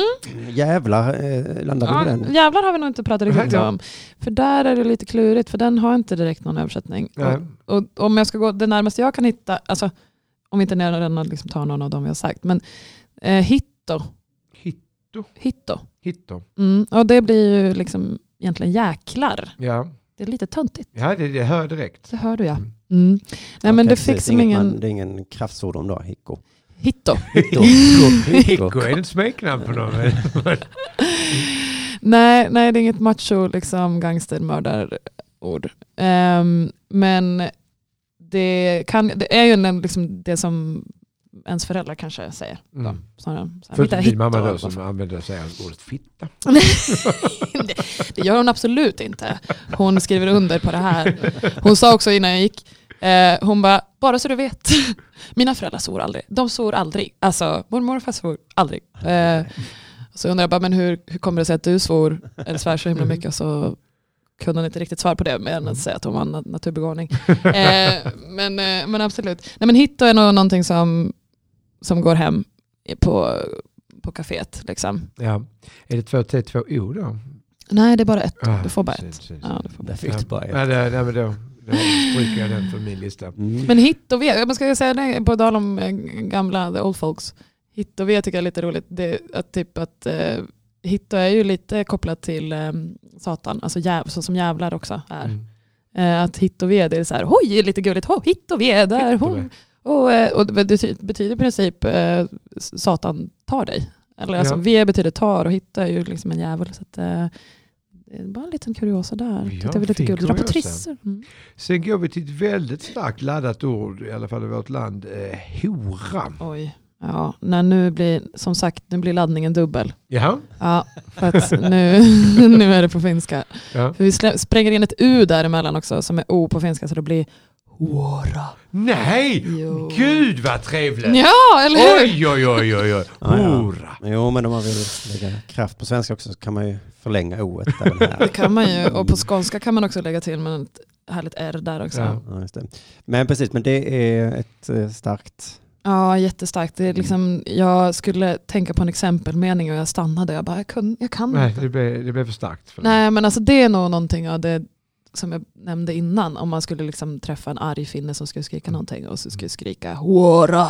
C: Jävlar, eh, landade vi
E: Ja,
C: på den?
E: jävlar har vi nog inte pratat riktigt
D: Nej, ja.
E: om. För där är det lite klurigt, för den har inte direkt någon översättning.
D: Nej.
E: Och, och om jag ska gå det närmaste jag kan hitta, alltså, om inte ni redan har liksom tar någon av dem vi har sagt, men eh, hitto.
D: Hitto.
E: hitto.
D: Hitto.
E: Mm. Och det blir ju liksom egentligen jäklar.
D: Ja,
E: Det är lite töntigt.
D: ja det, det hör jag direkt.
E: Det hör du ja.
D: Mm.
E: Mm. Nej men
C: Okej,
E: det
C: precis.
E: fick som
C: Inget
E: ingen...
C: man- det är ingen kraftsvordom då,
E: [LAUGHS]
C: hicko.
E: Hitto.
D: [LAUGHS]
C: Hicko.
D: Hicko, är det ett smeknamn på någon?
E: [LAUGHS]
D: Mm.
E: nej, nej, det är inget macho liksom, gangstermördarord. Ehm, men det, kan, det är ju en, liksom, det som ens föräldrar kanske säger.
D: Mm.
E: Snarare, så här, "Hitta
D: Förutom din
E: hitto",
D: mamma då
E: eller
D: som
E: vad
D: använder sig av ordet fitta. [LAUGHS]
E: fan. det, det gör hon absolut inte. Hon skriver under på det här. Hon sa också innan jag gick, eh, hon bara, bara så du vet, [LAUGHS] mina föräldrar svor aldrig. De svor aldrig. Alltså mormor och farfar svor aldrig. Eh, Så jag undrar jag bara, men hur, hur kommer det sig att du svor eller svär så himla mycket? Och så kunde hon inte riktigt svara på det mer än att säga att hon var en nat- naturbegåvning. eh, men, eh, men absolut. Nej, men hitto är nog någonting som, som går hem i- på, på kaféet. Liksom.
D: Ja. Är det två T, två O då?
E: Nej, det är bara ett.
D: Ah,
E: Du får bara
D: ett.
E: ett. Ja, du får bara.
C: Där fick du bara ett.
D: Nej, det- nej, men då, då stryker jag den från min lista.
C: Mm.
E: Men hitto V, man ska jag säga det på tal om eh, gamla the old folks. Hitto V tycker jag är lite roligt. Det, att typ att, eh, hitto är ju lite kopplat till eh, Satan, alltså jäv, så som jävlar också är.
D: Mm.
E: Eh, att hit och ved är så här, oj, lite gulligt, ho, hit och ved där,
D: Hitto
E: hon.
D: ved.
E: Och, eh, och det bety- betyder i princip eh, s- Satan tar dig. Eller alltså,
D: Ja.
E: ved betyder tar och hitta är ju liksom en djävul. Så att, eh, det är bara en liten kuriosa där.
D: Ja,
E: Tyckte det var lite
D: fin
E: gulligt. Dra på
D: kuriosa.
E: trissor. Mm.
D: Sen går vi till ett väldigt starkt laddat ord, i alla fall i vårt land, eh, hora.
E: Oj. Ja, när nu blir, som sagt, nu blir laddningen dubbel.
D: Jaha.
E: Ja,
D: [LAUGHS]
E: för att nu, nu är det på finska.
D: Ja.
E: För vi slä- spränger in ett U däremellan också som är O på finska så det blir Hora.
D: Nej!
E: Jo.
D: Gud vad trevligt!
E: Ja, eller hur?
D: Oj, oj, oj, oj, oj.
C: Ja, ja.
D: Hora.
C: Jo, men om man vill lägga kraft på svenska också så kan man ju förlänga o-et även
E: Det [LAUGHS]
C: här.
E: kan man ju. Och på skånska kan man också lägga till med ett härligt R där också.
D: Ja.
C: Ja, just det. Men precis, men det är ett eh, starkt
E: Ja, jättestarkt. Det är liksom, jag skulle tänka på en exempelmening och jag stannade. Jag bara, jag, kun, jag kan
D: Nej,
E: inte.
D: det blev, det blev för starkt. För
E: Nej, men alltså det är nog någonting av det som jag nämnde innan. Om man skulle liksom träffa en arg finne som skulle skrika någonting och så skulle skrika håra.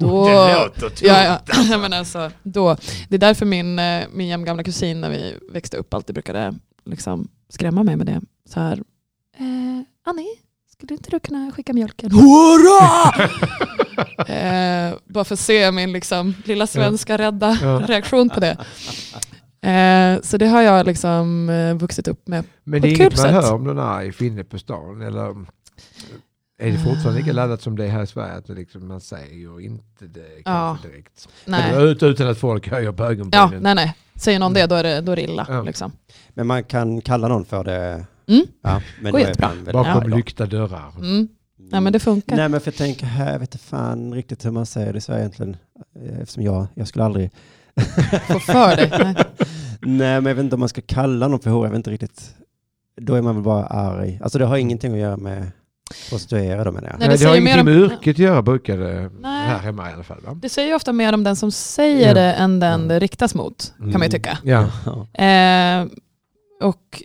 E: Då, ja, ja. [LAUGHS] ja,
D: [LAUGHS]
E: men alltså, då. Det är därför min, eh, min jämngamla kusin när vi växte upp alltid brukade liksom skrämma mig med det. Så här, eh, Annie, skulle inte du kunna skicka mjölken? Hurra! [LAUGHS] eh, bara för att se min liksom, lilla svenska rädda
D: Ja.
E: reaktion på det. Eh, så det har jag liksom eh, vuxit upp med.
D: Men
E: På
D: det är
E: ett
D: inget
E: kul
D: man
E: sätt.
D: hör om någon arg finne på stan eller um, är det
E: Ah.
D: fortfarande lika laddat som det är här i Sverige att det liksom, man säger inte det kanske direkt.
E: Nej,
D: Eller ut, utan att folk höjer på
E: ja,
D: ögonbrynen.
E: nej, nej. säger någon det då är det, då är det illa.
D: Ja.
E: Liksom.
C: Men man kan kalla någon för det.
E: Mm.
C: Ja, men
E: Går
C: då är
E: jättebra.
C: man väl arg
D: Bakom
C: då.
D: lyckta dörrar.
E: Mm. Nej men det funkar.
C: Nej men för jag tänker här, jag vet inte fan riktigt hur man säger det i Sverige egentligen. Eh, Eftersom jag, jag skulle
E: [LAUGHS]
C: aldrig...
E: Få för dig. Nej.
C: [LAUGHS] Nej men jag vet inte om man ska kalla någon för hora, jag vet inte riktigt. Då är man väl bara arg. Alltså det har ingenting att göra med prostituerade menar jag.
E: Nej,
D: Nej,
E: det
D: det, har
E: säger mer
D: ingenting
E: om-
D: med yrket att göra brukar det
E: Nej.
D: här hemma i alla fall. Va?
E: Det säger ju ofta mer om den som säger
D: Ja.
E: det än den
C: Ja.
E: det riktas mot, kan man ju
C: Mm.
E: tycka.
D: Ja.
C: [LAUGHS] Ja.
E: Eh, och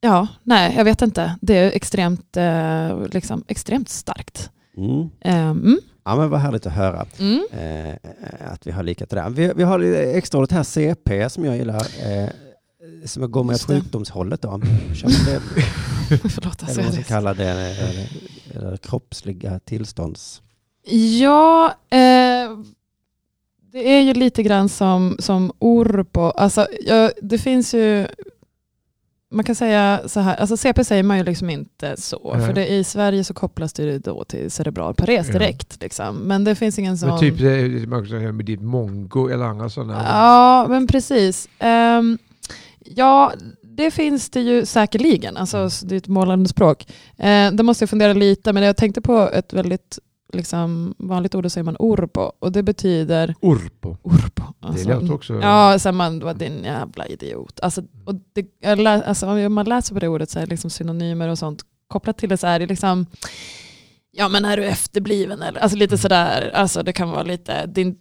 E: ja, nej, jag vet inte. Det är extremt, eh, liksom, extremt starkt.
C: Mm.
E: Eh, mm,
C: ja men vad härligt att höra.
E: mm.
C: Eh, att vi har likat det där. Vi, vi har lite extra ordet här, CP, som jag gillar. Eh, som går med
E: Just det.
C: sjukdomshållet då.
E: [LAUGHS]
C: Köpte,
E: Förlåt, alltså,
C: eller vad man
E: jag är
C: kallar det. Eller, eller kroppsliga tillstånds...
E: Ja, eh, det är ju lite grann som, som Orpo. Alltså, ja, det finns ju, man kan säga så här, alltså CP säger man ju liksom inte så.
D: Nej.
E: För det, i Sverige så kopplas det ju då till cerebral pares
D: Ja.
E: direkt. Liksom. Men det finns ingen sån...
D: Men typ det, det man kan säga med ditt mongo eller andra sådana.
E: Ja, men precis. Ehm, ja, det finns det ju säkerligen. Alltså, s- det är ett målande språk. Uh, det måste jag fundera lite, men jag tänkte på ett väldigt liksom, vanligt ord, då säger man orbo. Och det betyder
D: Urpo.
E: orbo.
D: Det
E: Alltså,
D: låter också...
E: Ja, sen man var din jävla idiot. Alltså, och det, jag lä, alltså, om man läser på det ordet så är det liksom synonymer och sånt kopplat till det så är det liksom Ja men är du efterbliven eller? Alltså lite sådär, alltså det kan vara lite din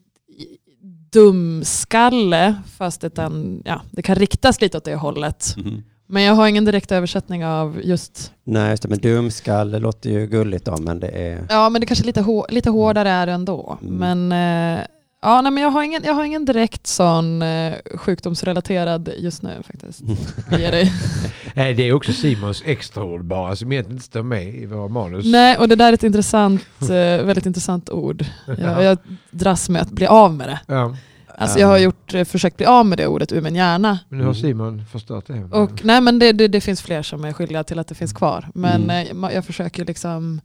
E: dumskalle fast det, kan, ja, det kan riktas lite åt det hållet.
D: Mhm.
E: Men jag har ingen direkt översättning av just,
C: Nej, just det. Men dumskalle låter ju gulligt då, men det är...
E: ja men det kanske lite, hår, lite hårdare är det ändå.
C: Mm.
E: Men, eh, ja, nej, men jag, har ingen, jag har ingen direkt sån eh, sjukdomsrelaterad just nu faktiskt.
C: Mm.
E: Ge dig.
C: [LAUGHS]
D: Nej, det är också Simons extraord bara som egentligen inte står med i våra manus. [LAUGHS]
E: Nej, och det där är ett intressant, eh, väldigt intressant ord. Jag, jag dras med att bli av med det.
D: Ja,
E: Alltså jag har gjort, eh, försökt bli av med det ordet ur min hjärna.
D: men nu har
C: Mm.
D: Simon förstört det.
E: Och nej men det, det, det finns fler som är skyldiga till att det finns kvar. Men
C: Mm.
E: eh, ma- jag försöker liksom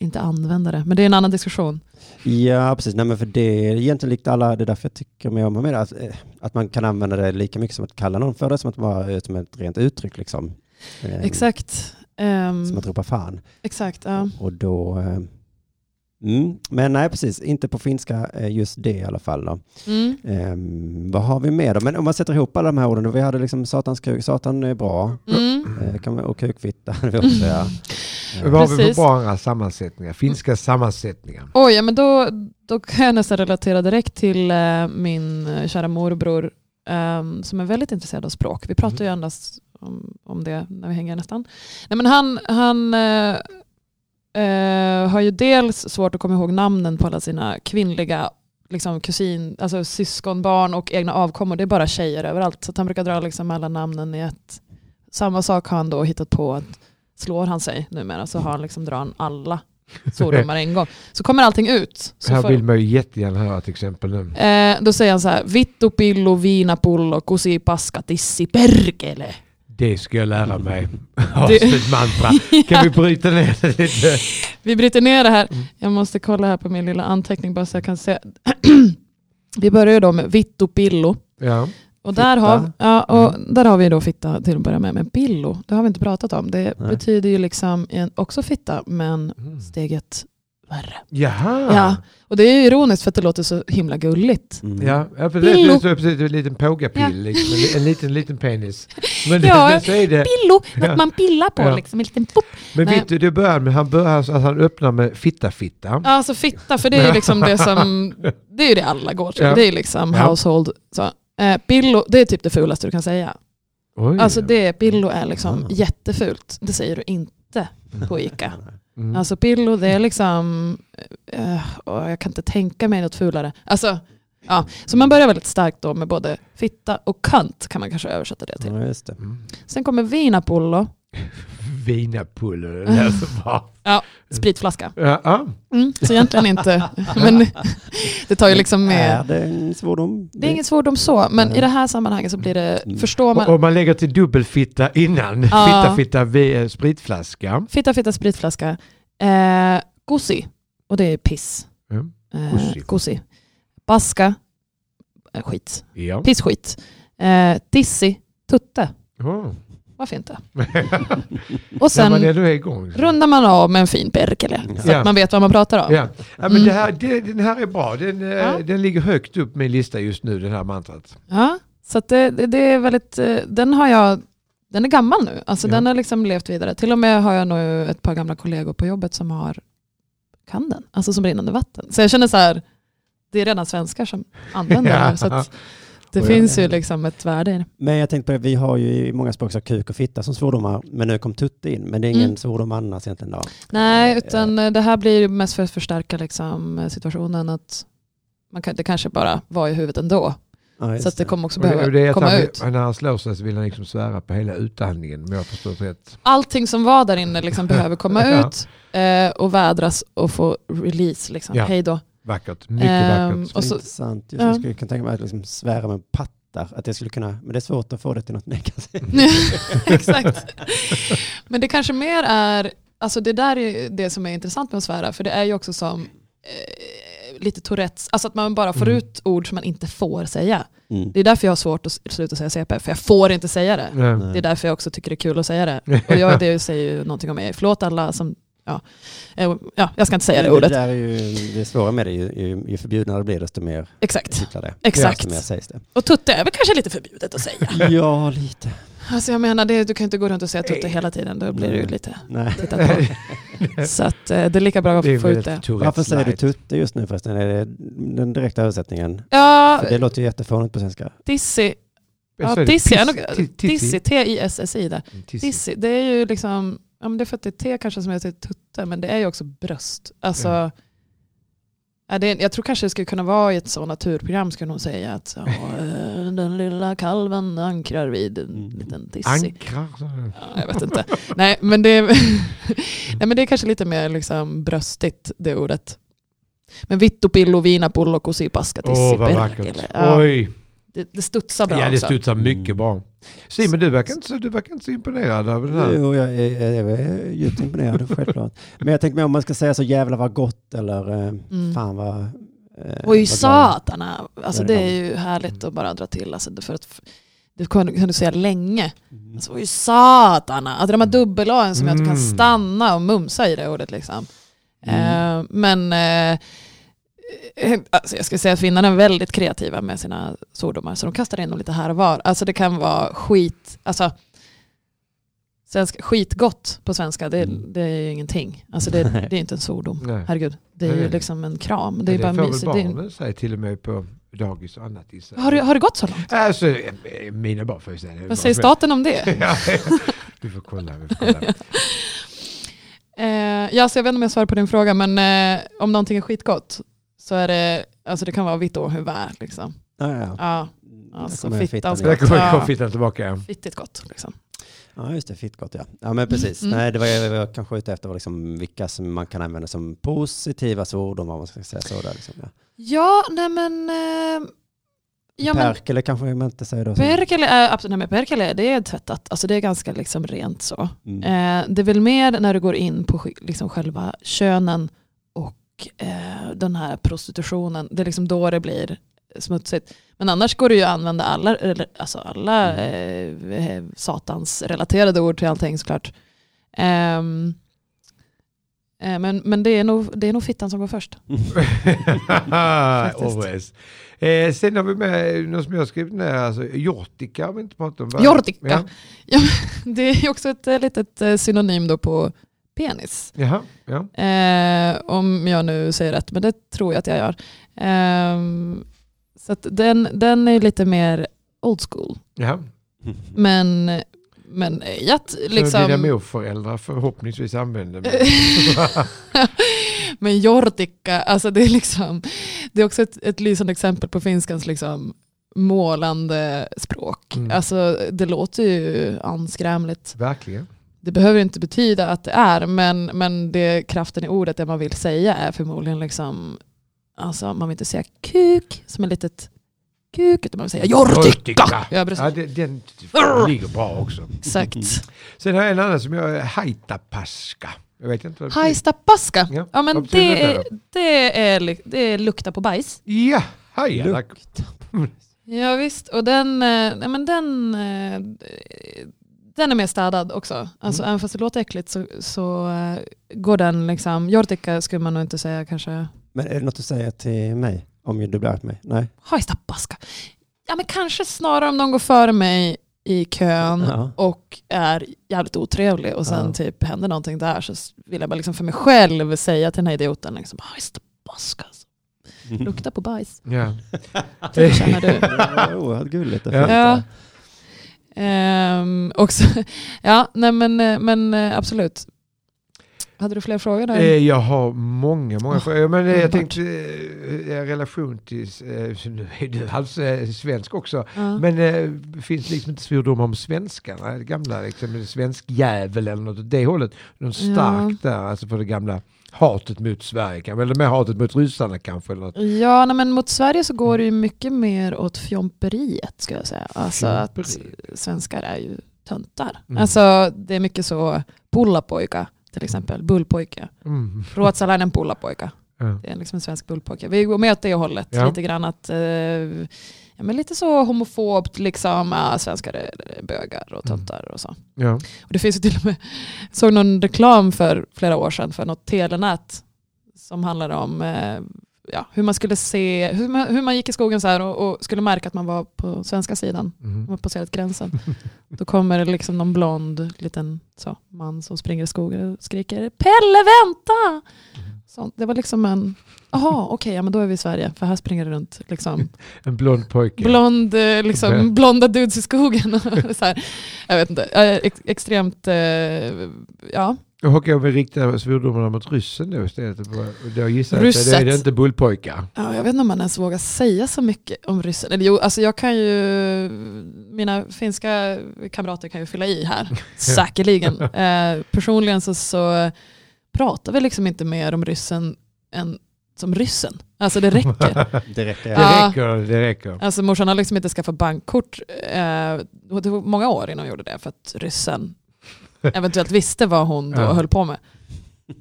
E: inte använda det. Men det är en annan diskussion.
C: Ja, precis. Nej, men för det är egentligen likt alla, det är därför jag tycker mer om det, att, eh, att man kan använda det lika mycket som att kalla någon för det, som att vara eh, som ett rent uttryck liksom. Eh,
E: Exakt. Ehm,
C: Som att ropa fan.
E: exakt, ja.
C: Och då... eh, Mm. Men nej, precis. Inte på finska eh, just det i alla fall. Då.
E: Mm.
C: Ehm, vad har vi mer då? Men om man sätter ihop alla de här orden. då, Vi hade liksom satans kuk, satan är bra.
E: Mm.
C: Eh, kan man, och kukfitta [LAUGHS] hade vi också. Ja. Eh.
D: Vad har vi
E: Precis.
D: för bra andra sammansättningar? Finska sammansättningar.
E: Oj, ja, men då, då kan jag nästan relatera direkt till eh, min eh, kära morbror ehm, som är väldigt intresserad av språk. Vi pratar ju endast om, om det när vi hänger nästan. Nej, men han han eh, eh, har ju dels svårt att komma ihåg namnen på alla sina kvinnliga liksom, kusin, alltså syskonbarn och egna avkommor. Det är bara tjejer överallt. Så att han brukar dra liksom alla namnen i ett. Samma sak har han då hittat på att slår han sig numera så har han liksom drar han alla svordomar en gång. Så kommer allting ut. Så
D: Här
E: får-
D: vill man ju jättegärna höra till exempel nu.
E: eh, då säger han så här, vittu pillu viinapullo kusi paska tissi perkele.
D: Det ska jag lära mig. [LAUGHS]
E: Det-
D: Avslut mantra.
E: [LAUGHS]
D: Kan vi bryta ner det lite?
E: Vi bryter ner det här.
D: Mm.
E: Jag måste kolla här på min lilla anteckning bara så jag kan se. [CLEARS THROAT] Vi börjar ju då med vittu pillu.
D: Ja.
E: Och där,
C: Fitta.
E: har, ja, och
D: Mm.
E: där har vi då fitta till att börja med. Men pillo, det har vi inte pratat om. Det
C: Nej.
E: betyder ju liksom en- också fitta, men
D: Mm.
E: steget värre.
D: Jaha.
E: Ja. Och det är ju ironiskt för att det låter så himla gulligt.
C: Mm.
D: Ja, ja, för det
E: Pillo.
D: det är precis en liten pågapill,
E: Ja.
D: liksom, en, en liten, liten penis. Men,
E: Ja,
D: [LAUGHS] men så är det.
E: Pillo, något
D: Ja.
E: man pillar på
D: Ja.
E: liksom. En liten pop.
D: Men
E: Nej.
D: vet du, det börjar med, han börjar alltså, att han öppnar med fitta-fitta.
E: Ja, alltså fitta, för det är ju liksom
D: [LAUGHS]
E: det som, det är ju det alla går till.
D: Ja.
E: Det är ju liksom
D: Ja.
E: household. Så. Eh, pillo, det är typ det fulaste du kan säga.
D: Oj.
E: Alltså det, pillo är liksom
C: Ah.
E: jättefult. Det säger du inte
D: [LAUGHS]
E: på Ica.
D: Mm.
E: Alltså pillo, det är liksom, eh, åh, jag kan inte tänka mig något fulare. Alltså, ja. Så man börjar väldigt starkt då med både fitta och kant kan man kanske översätta det till.
C: Ja, just det.
D: Mm.
E: Sen kommer vinapollo,
D: Vinapullo, det lät så bra.
E: spritflaska.
D: Ja, ja.
E: Mm, så egentligen
D: [LAUGHS]
E: inte, men det tar ju liksom med.
C: Är det en svordom?
E: Det är inget svordom så, men
C: Nej.
E: i det här sammanhanget så blir det,
C: Mm.
E: förstår
D: Och
E: man,
D: om man lägger till dubbelfitta innan,
E: Ja.
D: fitta-fitta vi- spritflaska.
E: fitta fitta spritflaska, eh, gossi, och det är piss.
D: Mm.
E: Eh,
D: Gossi.
E: gossi. Baska, eh, skit,
D: Ja.
E: pissskit. Eh, dissi, tutte,
D: [LAUGHS] Oh.
E: varför inte? Och
D: Sen, när man
E: sen
D: ändå är igång.
E: rundar man av med en fin perkele, så
D: Ja.
E: att man vet vad man pratar om.
D: Ja. Ja, men
E: Mm.
D: det här, det, den här är bra. Den, eh,
E: Ja.
D: den ligger högt upp på min lista just nu, den här mantrat.
E: Ja, så att det, det, det är väldigt, eh, den har jag, den är gammal nu. Alltså
D: Ja.
E: den har liksom levt vidare. Till och med har jag nog ett par gamla kollegor på jobbet som har, kan den, alltså som rinnande vatten. Så jag känner så här, det är redan svenskar som använder
D: [LAUGHS]
E: den
D: Ja.
E: nu. Så att det
D: Och jag-
E: finns ju liksom ett värde i det.
C: Men jag tänkte på det, vi har ju i många språk så kuk och fitta som svordomar, men nu kom tutte in. Men det är ingen
E: Mm.
C: svordom annars egentligen då.
E: Nej,
C: Eh,
E: utan eh, det här blir ju mest för att förstärka liksom eh, situationen att man kan, det kanske bara var i huvudet ändå.
C: Ja, just
E: Så att det kommer också
D: Och det, och
E: behöva
D: det är att
E: komma
D: han,
E: ut.
D: vill- när han slår sig så vill han liksom svära på hela utandningen, om jag har förstått rätt.
E: allting som var där
D: [LAUGHS]
E: inne liksom behöver komma
D: Ja.
E: ut eh, och vädras och få release. Liksom.
D: Ja.
E: Hej då.
D: Vackert, mycket
E: Ehm,
D: vackert.
E: och
C: Och
E: så-
C: så, intressant. Just,
E: Ja.
C: Jag skulle kunna tänka mig att liksom svära med pattar, att jag skulle kunna, men det är svårt att få det till något [LAUGHS] negativt.
D: Mm.
E: [LAUGHS]
D: [LAUGHS]
E: Exakt. Men det kanske mer är, alltså det där är ju det som är intressant med att svära, för det är ju också som eh, lite Tourettes, alltså att man bara får
D: Mm.
E: ut ord som man inte får säga.
C: Mm.
E: Det är därför jag har svårt att s- sluta säga CP, för jag får inte säga det.
D: Nej.
C: Nej.
E: Det är därför jag också tycker det är kul att säga det. Och jag, det säger ju någonting om mig. Förlåt alla som, ja, Eh, ja jag ska inte säga det
C: Men [LAUGHS]
E: ordet.
C: där är ju, det svåra med det, är ju, ju, ju förbjudnare det blir desto mer
E: Exakt.
C: kittlar det.
E: Exakt.
C: Desto mer sägs det.
E: Och tutte är väl kanske lite förbjudet att säga.
C: Ja, lite.
E: [LAUGHS] Alltså jag menar, det, du kan inte gå runt och säga tutte hela tiden, då blir det ju lite
C: Nej.
E: tittat på. Så att, eh, det är lika bra att
D: Det är
E: få
D: väl
E: ut
D: ett
E: det.
D: Tourettes
C: Varför säger du
D: light.
C: tutte just nu förresten? Är det den direkta översättningen?
E: Ja,
C: För det låter ju jättefånigt på svenska.
E: Dizzy,
D: Jag
E: ja,
D: säger
E: Dizzy, är
D: piss-
E: nog-
D: ti- tissi.
E: Dizzy, T-I-S-S-I där.
D: Tissi.
E: Dizzy, det är ju liksom, ja men det är för att det är T kanske som heter tutte, men det är ju också bröst. Alltså,
D: Ja.
E: ja, det, är- jag tror kanske det skulle kunna vara i ett sånt naturprogram, skulle hon säga
D: [LAUGHS]
E: att ja, eh, den lilla kalven ankrar vid en
C: Mm.
E: liten Dizzy.
D: Ankrar. sa du.
E: Ja, jag
D: [LAUGHS]
E: vet inte. Nej, men det,
D: Mm.
E: är, [LAUGHS] nej, men det är kanske lite mer liksom bröstigt det ordet. Men vittopillo, vinapullo, kosipaska,
D: Åh, vad vackert. Oj.
E: det, det studsar bra
D: Ja, det
E: också.
D: studsar mycket
C: Mm.
D: bra. Simon, du verkar inte så, du verkar inte så imponerad av den här.
C: Jo, jag är, jag är djupt
E: [LAUGHS]
C: imponerad, självklart. Men jag tänker mig om man ska säga så jävla vad gott eller eh,
E: Mm.
C: fan vad... eh, vad
E: Oj,
C: glad-
E: satana. Alltså,
C: Ja,
E: det
C: det
E: är ju
D: Mm.
E: härligt att bara dra till. Alltså, för att, det kunde kunde du säga länge.
C: Mm.
E: Alltså, oj, satana. Alltså, de här dubbel-A'n som jag inte kan
D: Mm.
E: stanna och mumsa i det ordet. Liksom.
C: Mm.
E: Eh, men eh, eh, alltså jag skulle säga att finnarna är väldigt kreativa med sina svordomar, så de kastar in dem lite här och var. Alltså det kan vara skit, alltså svenska, skitgott på svenska, det,
C: Mm.
E: det är ju ingenting. Alltså det,
C: Nej.
E: det är inte en svordom.
D: Nej.
E: Herregud, det är
D: Nej,
E: ju
D: nej.
E: liksom en kram. Det är
D: det
E: bara
D: får
E: mysigt. Det
D: väl
E: är,
D: barnen säga till och med på dagis och annat i sig.
E: har, det- har det gått så långt?
D: Alltså, eh, mina barn får ju säga det.
E: Vad säger staten
D: [LAUGHS]
E: om det?
D: Ja, vi får kolla. Vi får
E: [LAUGHS]
D: kolla.
E: Eh, ja, så jag vet inte om jag svarar på din fråga, men eh, om någonting är skitgott så är det, alltså det kan vara vitt huvud, liksom.
C: Ja, ja.
E: Ja,
C: Där
E: alltså
C: kommer
E: fittan
D: Där
E: ska-
D: kommer kom fittan
E: [LAUGHS]
D: tillbaka.
E: fittigt gott. Liksom.
C: Ja, just det. Fittgott, ja. Ja, men precis.
E: Mm.
C: Nej, det var jag, jag kanske ute efter var liksom vilka som man kan använda som positiva svordomar, om man ska säga så. Där, liksom, ja.
E: Ja, nej men... Eh, ja, men
C: Perkele kanske man inte säger då. som-
E: perkele är, absolut, nej, men perkele, det är tvättat. Alltså det är ganska liksom rent så.
C: Mm. [LAUGHS]
E: Eh, det är väl mer när du går in på sk- liksom själva könen och eh, den här prostitutionen. Det är liksom då det blir smutsigt. Men annars går det ju att använda alla, eller, alltså alla eh, satans relaterade ord till allting såklart. Ehm, Eh, Men, men det, är nog, det är nog fittan som går först. [LAUGHS]
D: [LAUGHS] Always. Eh, sen har vi med något som jag har skrivit ner, alltså jortika har vi inte pratat om. va?
E: Jortika.
D: Ja.
E: Det är ju också ett eh, litet eh, synonym då på penis.
D: Jaha, ja.
E: Eh, om jag nu säger rätt, men det tror jag att jag gör. Ehm, så att den, den är lite mer old school.
D: Jaha.
E: Men, men ejat,
D: Som dina [LAUGHS]
E: liksom...
D: morföräldrar förhoppningsvis använder. Men...
E: [LAUGHS] men jortikka, alltså det är liksom... Det är också ett, ett lysande exempel på finskans liksom målande språk.
D: Mm.
E: Alltså det låter ju anskrämligt.
D: Verkligen.
E: Det behöver inte betyda att det är, men, men det kraften i ordet, det man vill säga är förmodligen liksom, alltså man vill inte säga kuk som ett litet kuk, utan man vill säga jortika. Ja, precis.
D: Ja, det, den ligger bra också. Mm.
E: Exakt.
D: Sen har jag en annan som jag, haitapaska. Jag vet inte vad det betyder.
E: Hajstapaska.
D: Ja,
E: Ja, ja men
D: vad betyder
E: det
D: det
E: är, det, är, li- det är lukta på bajs.
D: Ja, haja.
C: Lukt.
D: tack.
E: Ja visst, och den, eh, nej, men den, eh, den är mer städad också. Alltså
D: Mm.
E: även fast det låter äckligt så, så eh, går den liksom, jortika skulle man nog inte säga kanske
C: Men är det något du säger till mig? Om du blir arg på mig? Nej?
E: Hajstapaska. Ja men kanske snarare om de går före mig i kön
C: Ja.
E: och är jävligt otrevlig och sen
C: Ja.
E: typ händer någonting där så s- vill jag bara liksom för mig själv säga till den här idioten liksom hajstapaska. alltså.
C: Mm.
E: Lukta på bajs.
D: Ja.
E: Det [LAUGHS] känner du.
C: [LAUGHS] Oerhört Oh, gulligt och
D: Ja.
C: fint.
E: Ja. Ehm, också, [LAUGHS] ja, nej men, eh, men eh, absolut. Hade du fler frågor där?
D: Eh, Jag har många, många
E: Åh,
D: frågor. Men eh, jag
E: underbart.
D: tänkte eh, eh, relation till, eh, så nu är du halvs- eh, svensk också.
E: ja.
D: Men eh, finns liksom inte svordomar om svenskarna? Det gamla, liksom svensk jävel eller något åt det hållet. Något
E: Ja.
D: starkt där, alltså för det gamla hatet mot Sverige kanske, eller mer hatet mot ryssarna kanske. Eller något.
E: Ja, nej, men mot Sverige så går det ju mycket mer åt fjomperiet skulle jag säga. Alltså att
D: Fjomperi.
E: svenskar är ju töntar.
D: Mm.
E: Alltså det är mycket så pullapojka till exempel, bullpojke.
D: Mm.
E: Ruotsalainen pullapojka.
D: Ja.
E: Det är liksom en svensk bullpojke. Vi går med åt det hållet
D: Ja.
E: lite grann att eh, ja, men lite så homofobt liksom, ah, svenskar är bögar och töntar och så.
D: Ja.
E: Och det finns ju till och med, jag såg någon reklam för flera år sedan för något telenät som handlade om eh, ja, hur man skulle se, hur man, hur man gick i skogen så här och, och skulle märka att man var på svenska sidan,
D: Mm.
E: man har passerat gränsen. Då kommer det liksom någon blond liten så, man som springer i skogen och skriker Pelle vänta! Sånt. Det var liksom en, jaha okej, ja, men då är vi i Sverige för här springer det runt liksom
D: En blond pojke.
E: Blond, eh,
D: Okej.
E: liksom, blonda dudes i skogen. [LAUGHS] så här. Jag vet inte, Eh, ex extremt, eh, ja.
D: Och om vi riktar svordomarna mot ryssen då istället. Och Då gissar jag att det är
E: Rysset.
D: det inte bullpojkar.
E: ja. Jag vet inte om man ens vågar säga så mycket om ryssen. Eller jo, alltså jag kan ju, mina finska kamrater kan ju fylla i här, säkerligen. Eh, personligen så, så pratar vi liksom inte mer om ryssen än som ryssen. Alltså det räcker.
C: Det räcker.
D: [LAUGHS] Det
E: Ja.
D: räcker, det räcker.
E: Alltså morsan har liksom inte skaffat bankkort. Eh, och det tog många år innan hon gjorde det för att ryssen eventuellt visste vad hon då
D: Ja.
E: höll på med.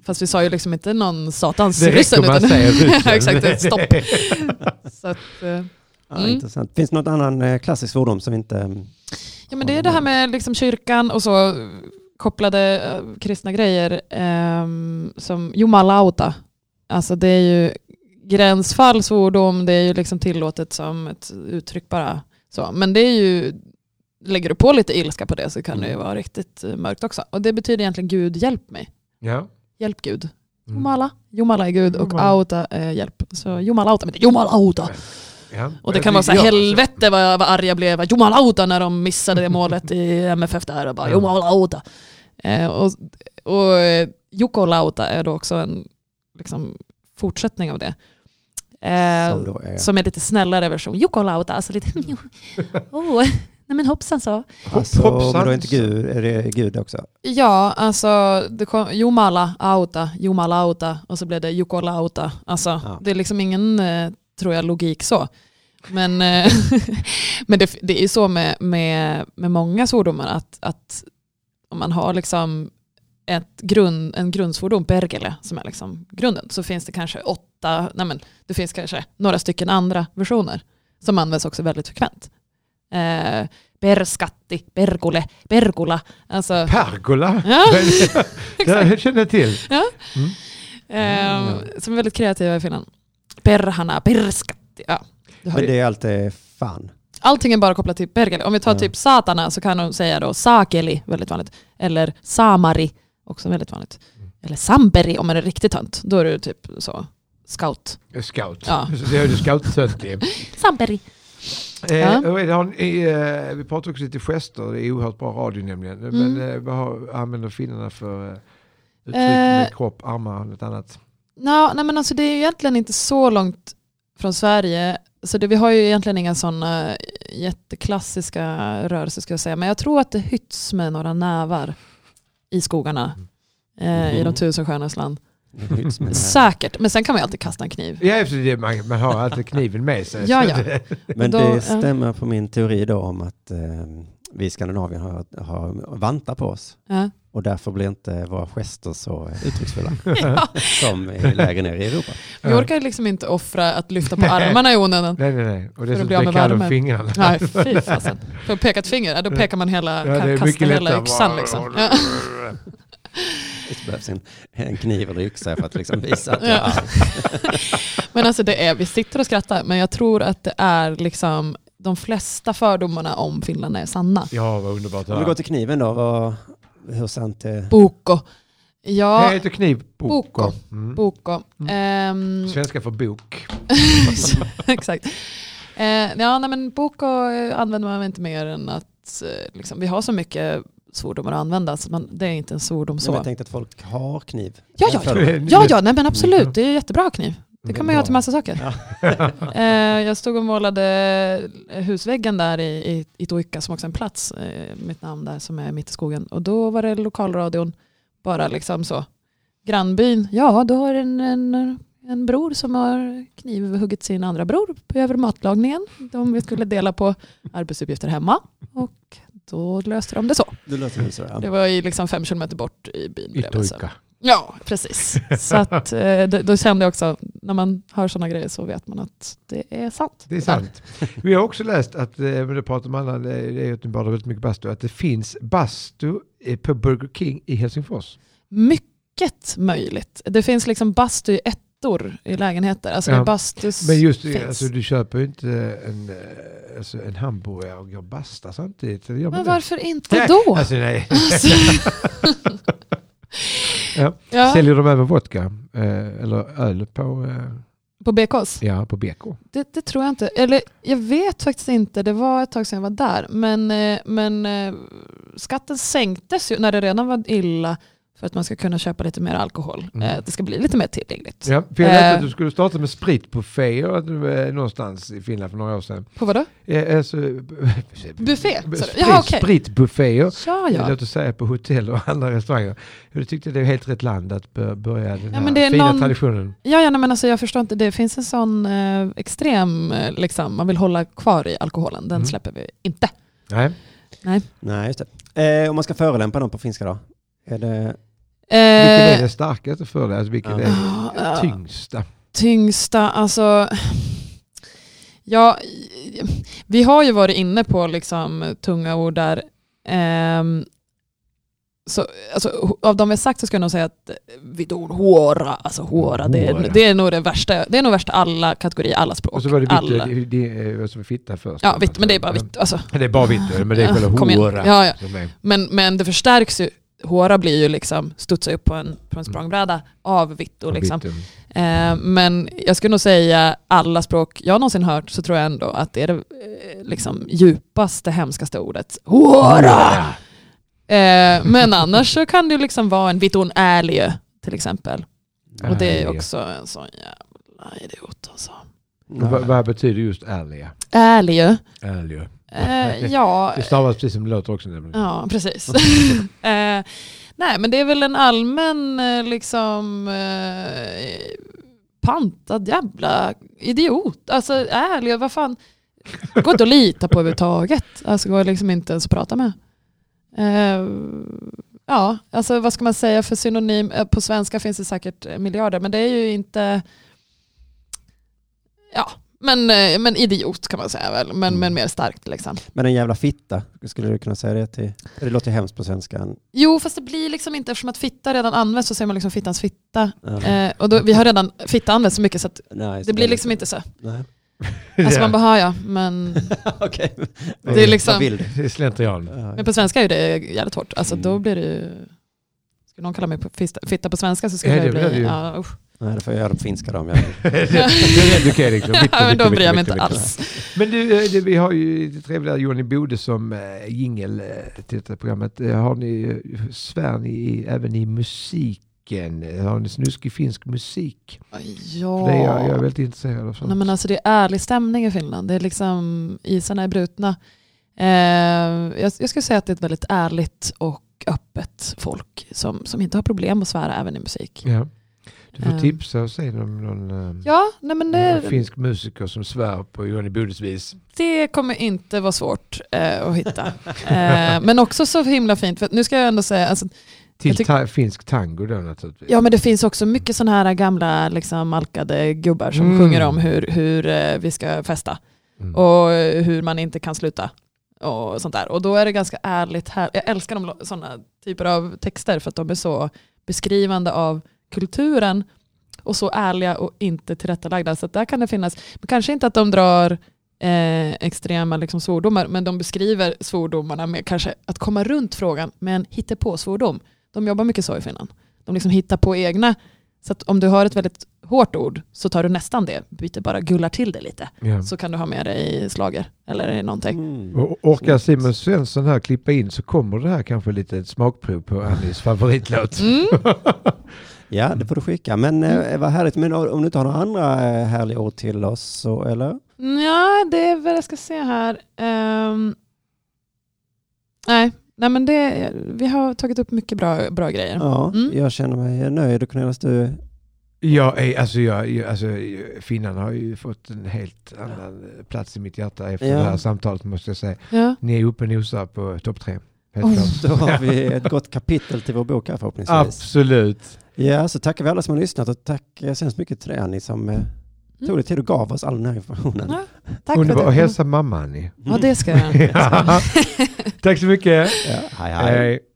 E: Fast vi sa ju liksom inte någon satans
D: Det räcker
E: ryssen.
D: om man säger
E: [LAUGHS]
D: ryssen.
E: Exakt, ett stopp. [LAUGHS] Så att, eh,
C: Ja,
E: Mm.
C: Intressant. Finns det något annan eh, klassisk svordom som inte... mm,
E: ja, men det är det här med liksom kyrkan och så eh, kopplade eh, kristna grejer ehm, som jumalauta. Alltså det är ju gränsfall, svordom, det är ju liksom tillåtet som ett uttryck bara. Så. Men det är ju, lägger du på lite ilska på det så kan det ju vara riktigt eh, mörkt också. Och det betyder egentligen Gud hjälp mig,
D: [LAUGHS] Ja.
E: hjälp Gud.
D: Mm.
E: Jumala, Jumala är Gud och
D: Jumala.
E: auta är hjälp. Så jumalauta, men det är jumalauta.
D: Ja.
E: Och det kan vara så
D: Ja,
E: här,
D: alltså.
E: helvete vad, vad arg jag blev, Jomalauta när de missade det målet i MFF där och bara
D: Ja.
E: Jomalauta. Eh, och och eh, Jokolauta är då också en liksom, fortsättning av det. Eh,
C: som då är...
E: som är lite snällare version, Jokolauta, alltså lite [LAUGHS] oh, nej men hoppsan så.
C: alltså,
D: hoppsan.
C: men då är inte Gud, är det Gud också?
E: Ja, alltså det kom, Jomala, Auta, Jomalauta och så blev det Jokolauta. Alltså,
C: Ja.
E: Det är liksom ingen, eh, tror jag, logik så. Men, eh, [LAUGHS] men det, det är ju så med, med, med många svordomar att, att om man har liksom ett grund, en grundsvordom, bergele, som är liksom grunden, så finns det kanske åtta, nej men, det finns kanske några stycken andra versioner som används också väldigt frekvent. Eh, berskatti, bergole, bergola.
D: [LAUGHS]
E: Alltså,
D: Pergola.
E: Ja.
D: det känner jag till.
E: Ehm,
C: Mm.
E: Som är väldigt kreativa i Finland. Perhana, perskatti. Ja. Du hör
C: Men
E: ju.
C: det är alltid fan.
E: Allting är bara kopplat till perkele. Om vi tar
C: Ja.
E: typ satana så kan de säga då sakeli, väldigt vanligt. Eller samari, också väldigt vanligt. Eller samberi om man är riktigt tönt. Då är du typ så scout.
D: Scout.
E: Ja.
D: Så det är ju scoutsönt i.
E: Samberi.
D: Eh,
E: Ja.
D: och det har ni, eh, vi pratar också lite gester, det är oerhört bra radio nämligen. Men
E: Mm.
D: eh, vad har, använder finnarna för eh, uttryck med
E: Eh.
D: kropp, armar och något annat?
E: Nå, nej men alltså det är ju egentligen inte så långt från Sverige. Så det, vi har ju egentligen inga sådana jätteklassiska rörelser ska jag säga. Men jag tror att det hytts med några nävar i skogarna. Eh, I
C: Mhm.
E: de tusen stjärnornas land.
C: Skyddsmän.
E: Säkert, men sen kan man ju alltid kasta en kniv.
D: Ja, eftersom det, man, man har alltid kniven med sig.
E: Ja,
D: Så [LAUGHS]
E: ja.
D: det-
C: Men
E: Då, ja.
C: det stämmer på min teori då om att eh, vi i Skandinavien har, har vantar på oss.
E: Ja.
C: Och därför blir inte våra gester så eh, uttrycksfulla
E: [LAUGHS] Ja.
C: som i lägre ner i Europa.
E: Vi orkar ju liksom inte offra att lyfta på armarna
D: [LAUGHS]
E: i onödan.
D: Nej, nej, nej. Och
E: bli
D: dessutom
E: av
D: blir
E: med
D: kall om
E: värmen.
D: fingrarna.
E: Nej, fy fasen. För att peka ett finger, ja, då pekar man hela,
D: Ja, det är
E: kastar
D: mycket
E: hela
D: lättare.
E: yxan liksom. Ja.
C: Det behövs en, en kniv eller yxa för att liksom visa att jag
E: Ja.
C: är arg.
E: Men alltså det är, vi sitter och skrattar, men jag tror att det är liksom de flesta fördomarna om Finland är sanna.
D: [LAUGHS] Ja, vad underbart.
C: Om vi går till kniven då, vad, hur sant eh, är...
E: Boko.
D: Jag
E: Ja,
D: heter kniv Boko.
E: Boko.
D: Mm.
E: boko. Ehm,
D: Svenska för bok.
E: [LAUGHS] exakt. Eh, ja, nej, men boko eh, använder man väl inte mer än att eh, liksom, vi har så mycket svordomar att använda, så man, det är inte en svordom
C: Så.
E: så.
C: Jag tänkte att folk har kniv.
E: Ja, ja,
C: För dem.
E: Ja, ja, nej men absolut. Det är jättebra kniv. Det kan man göra till massa saker.
C: Mm. Ja. [LAUGHS]
E: [LAUGHS] Eh, jag stod och målade husväggen där i, i, i Toika som också är en plats, eh, mitt namn där som är mitt i skogen. Och då var det lokalradion, bara liksom så. Grannbyn, ja då har en, en, en bror som har knivhuggit sin andra bror över matlagningen. De skulle dela på arbetsuppgifter hemma och då löste de det så.
C: Du låter som så. Ja.
E: Det var i liksom fem kilometer bort i byn.
D: I
E: bredvid, så.
D: Turka.
E: Ja, precis. Så att, eh, då, då kände jag också, när man hör sådana grejer så vet man att det är sant.
D: Det är sant. Vi har också läst att, eh, men det pratar man om, det är ju att ni badar väldigt mycket bastu, att det finns bastu eh, på Burger King i Helsingfors.
E: Mycket möjligt. Det finns liksom bastu i ettor i lägenheter. Alltså
D: Ja.
E: det bastus
D: Men just det,
E: finns.
D: alltså, du köper ju inte en, eh, alltså, en hamburgare och går basta samtidigt. Det gör man
E: Men
D: inte.
E: varför inte
D: Nej,
E: då? [LAUGHS]
D: Alltså, nej.
E: Alltså.
D: [LAUGHS] Ja.
E: ja,
D: Säljer de även vodka eh, eller öl på, eh,
E: på BKs?
D: ja, på BK?
E: Det, det tror jag inte. Eller jag vet faktiskt inte. Det var ett tag sedan jag var där. Men, eh, men eh, skatten sänktes ju när det redan var illa för att man ska kunna köpa lite mer alkohol.
D: Mm.
E: Eh, Det ska bli lite mer tillgängligt.
D: Ja, för jag läste
E: Eh.
D: att du skulle starta med spritbufféer att du, eh, någonstans i Finland för några år sedan.
E: På vadå?
D: Eh, alltså, [LAUGHS]
E: Buffé? sa du?
D: Sprit,
E: Jaha, okej.
D: Spritbufféer,
E: Ja,
D: ja.
E: ja.
D: låt oss säga på hotell och andra restauranger. Jag tyckte det är helt rätt land att bör- börja den
E: Ja,
D: här
E: men det är
D: fina
E: någon-
D: traditionen.
E: ja, ja nej, men alltså, jag förstår inte. Det finns en sån eh, extrem, eh, liksom, man vill hålla kvar i alkoholen. Den
D: Mm.
E: släpper vi inte. Eh.
D: Nej.
C: Nej, just det. Eh, om man ska förolämpa dem på finska då? Är det...
D: Vilken är
E: Eh,
D: det starkaste för dig? Alltså, vilken
C: Ja.
D: är
E: Ja,
D: det
E: ja.
D: tyngsta?
E: tyngsta, alltså... Ja, vi har ju varit inne på liksom tunga ord där. Ehm, så, alltså, ho- av de vi har sagt så skulle jag nog säga att eh, vid ord håra, alltså håra, det
D: Håra.
E: är, det är nog det värsta, det är nog värst alla kategorier, alla språk.
D: Och så var det
E: alla.
D: vitt, det, det, det, som fitta först.
E: Ja, vitt, men det är bara vitt. Alltså,
D: Ja, Det är bara vitt, men det är själva
E: Kom igen.
D: håra.
E: Ja, ja.
D: som är-
E: Men, men det förstärks ju. Håra blir ju liksom, studsar upp på en, på en språngbräda av vitto. Liksom.
D: vitt.
E: Eh, men jag skulle nog säga alla språk jag någonsin hört så tror jag ändå att det är det eh, liksom, djupaste, hemskaste ordet. Håra!
D: Håra!
E: Eh, men annars så kan det ju liksom vara en vitton ärlige till exempel. Och det är
D: Ärlige.
E: också en sån jävla idiot alltså.
D: Och Vad, vad betyder just ärliga?
E: Ärlige?
D: Ärliga.
E: Eh, ja,
D: Det stavas precis som det låter också nämligen.
E: Ja, precis. [LAUGHS] eh, nej, men det är väl en allmän eh, liksom eh, pantad jävla idiot. Alltså ärlig, vad fan. Går inte att lita på överhuvudtaget. Alltså går liksom inte ens att prata med. Eh, ja, alltså vad ska man säga för synonym? Eh, På svenska finns det säkert eh, miljarder, men det är ju inte... Ja, Men, eh, men idiot kan man säga väl, men,
C: Mm.
E: men mer starkt liksom.
C: Men en jävla fitta, skulle du kunna säga det till? Det låter ju hemskt på svenska.
E: Jo, fast det blir liksom inte, eftersom att fitta redan används så säger man liksom fittans fitta.
C: Ja.
E: Eh, och då, vi har redan fitta använts så mycket så att
C: Nej,
E: det blir
D: [LAUGHS]
E: liksom inte så.
C: Nej. [LAUGHS]
E: Alltså
D: Ja,
E: man bara, "Ja, ja, men,
C: Okej.
E: Det är liksom-
C: Vad vill du?
D: Det är slentrian.
C: Ja.
E: men på svenska är ju det jävligt hårt. Alltså
C: Mm.
E: då blir det ju... Skulle någon kalla mig på fitta, fitta på svenska så
D: Ja,
E: skulle
D: det
E: jag
D: blir
E: bli...
D: det ju.
E: Ja, usch.
C: Nej, det får jag göra på finska då om jag vill.
D: Det är ändå okej liksom. Victor,
E: [LAUGHS] ja, men då
D: Victor,
E: bryr jag mig
D: Victor,
E: inte
D: Victor.
E: alls.
D: Men du, eh, det, vi har ju det trevliga Johnny Bode som eh, jingel eh, till detta programmet. Eh, Har ni, eh, svär ni i- även i musiken? Eh, Har ni snuskig finsk musik?
E: Ja.
D: Det är jag, jag är väldigt intresserad av.
E: Nej,
D: sånt.
E: men alltså, det är ärlig stämning i Finland. Det är liksom, isarna är brutna. Eh, jag, jag skulle säga att det är ett väldigt ärligt och öppet folk som, som inte har problem att svära även i musik.
D: Ja. Du får
E: Ehm.
D: tipsa och se om någon eh,
E: Ja, nej men
D: någon
E: det,
D: finsk musiker som svär på Johnny Bodes vis.
E: det kommer inte vara svårt eh, att hitta. Eh, men också så himla fint, för att nu ska jag ändå säga, alltså,
D: Till
E: Jag tyck-
D: ta- finsk tango då naturligtvis.
E: ja men det finns också mycket sådana här gamla liksom, malkade gubbar som
D: Mm.
E: sjunger om hur, hur eh, vi ska festa.
D: Mm.
E: och hur man inte kan sluta. Och sånt där. Och då är det ganska ärligt här. Jag älskar de sådana typer av texter för att de är så beskrivande av kulturen och så ärliga och inte tillrättalagda. Så att där kan det finnas, men kanske inte att de drar eh, extrema liksom, svordomar, men de beskriver svordomarna med kanske att komma runt frågan med en hittepå-svordom. De jobbar mycket så i Finland. De liksom hittar på egna. Så att om du har ett väldigt hårt ord så tar du nästan det, byter bara gullar till det lite
D: Ja.
E: så kan du ha med det i slager eller i någonting.
C: Mm.
D: Och orkar Simon Svensson här klippa in så kommer det här kanske lite ett smakprov på Annies favoritlåt.
E: Mm.
D: [LAUGHS]
C: Ja, det får du skicka. Men eh, vad härligt. Men om om du inte har några andra eh, härliga ord till oss, så, eller?
E: Mm, Ja, det är vad jag ska se här. Ehm, nej, nej, men det, vi har tagit upp mycket bra, bra grejer.
C: Ja,
E: Mm.
C: jag känner mig eh, nöjd. Och Cornelis, du...
D: Jag är, alltså jag, jag, alltså, Finland har ju fått en helt annan eh, plats i mitt hjärta efter
C: Ja.
D: det här samtalet måste jag säga.
E: Ja.
D: Ni är uppe och nosar på topp tre. Helt
E: Oh.
D: klart.
C: Då har vi ett gott kapitel till vår bok här förhoppningsvis.
D: [LAUGHS] Absolut.
C: Ja, så tackar vi alla som har lyssnat och tack eh, så hemskt mycket till dig Annie som eh, tog dig tid och gav oss all den här informationen.
E: Ja, Tack
D: Underbar.
E: för
D: Och
E: det.
D: hälsa mamma Annie.
E: Ja, det ska jag.
D: Tack så mycket.
C: Ja, hej, hej.
D: Hej.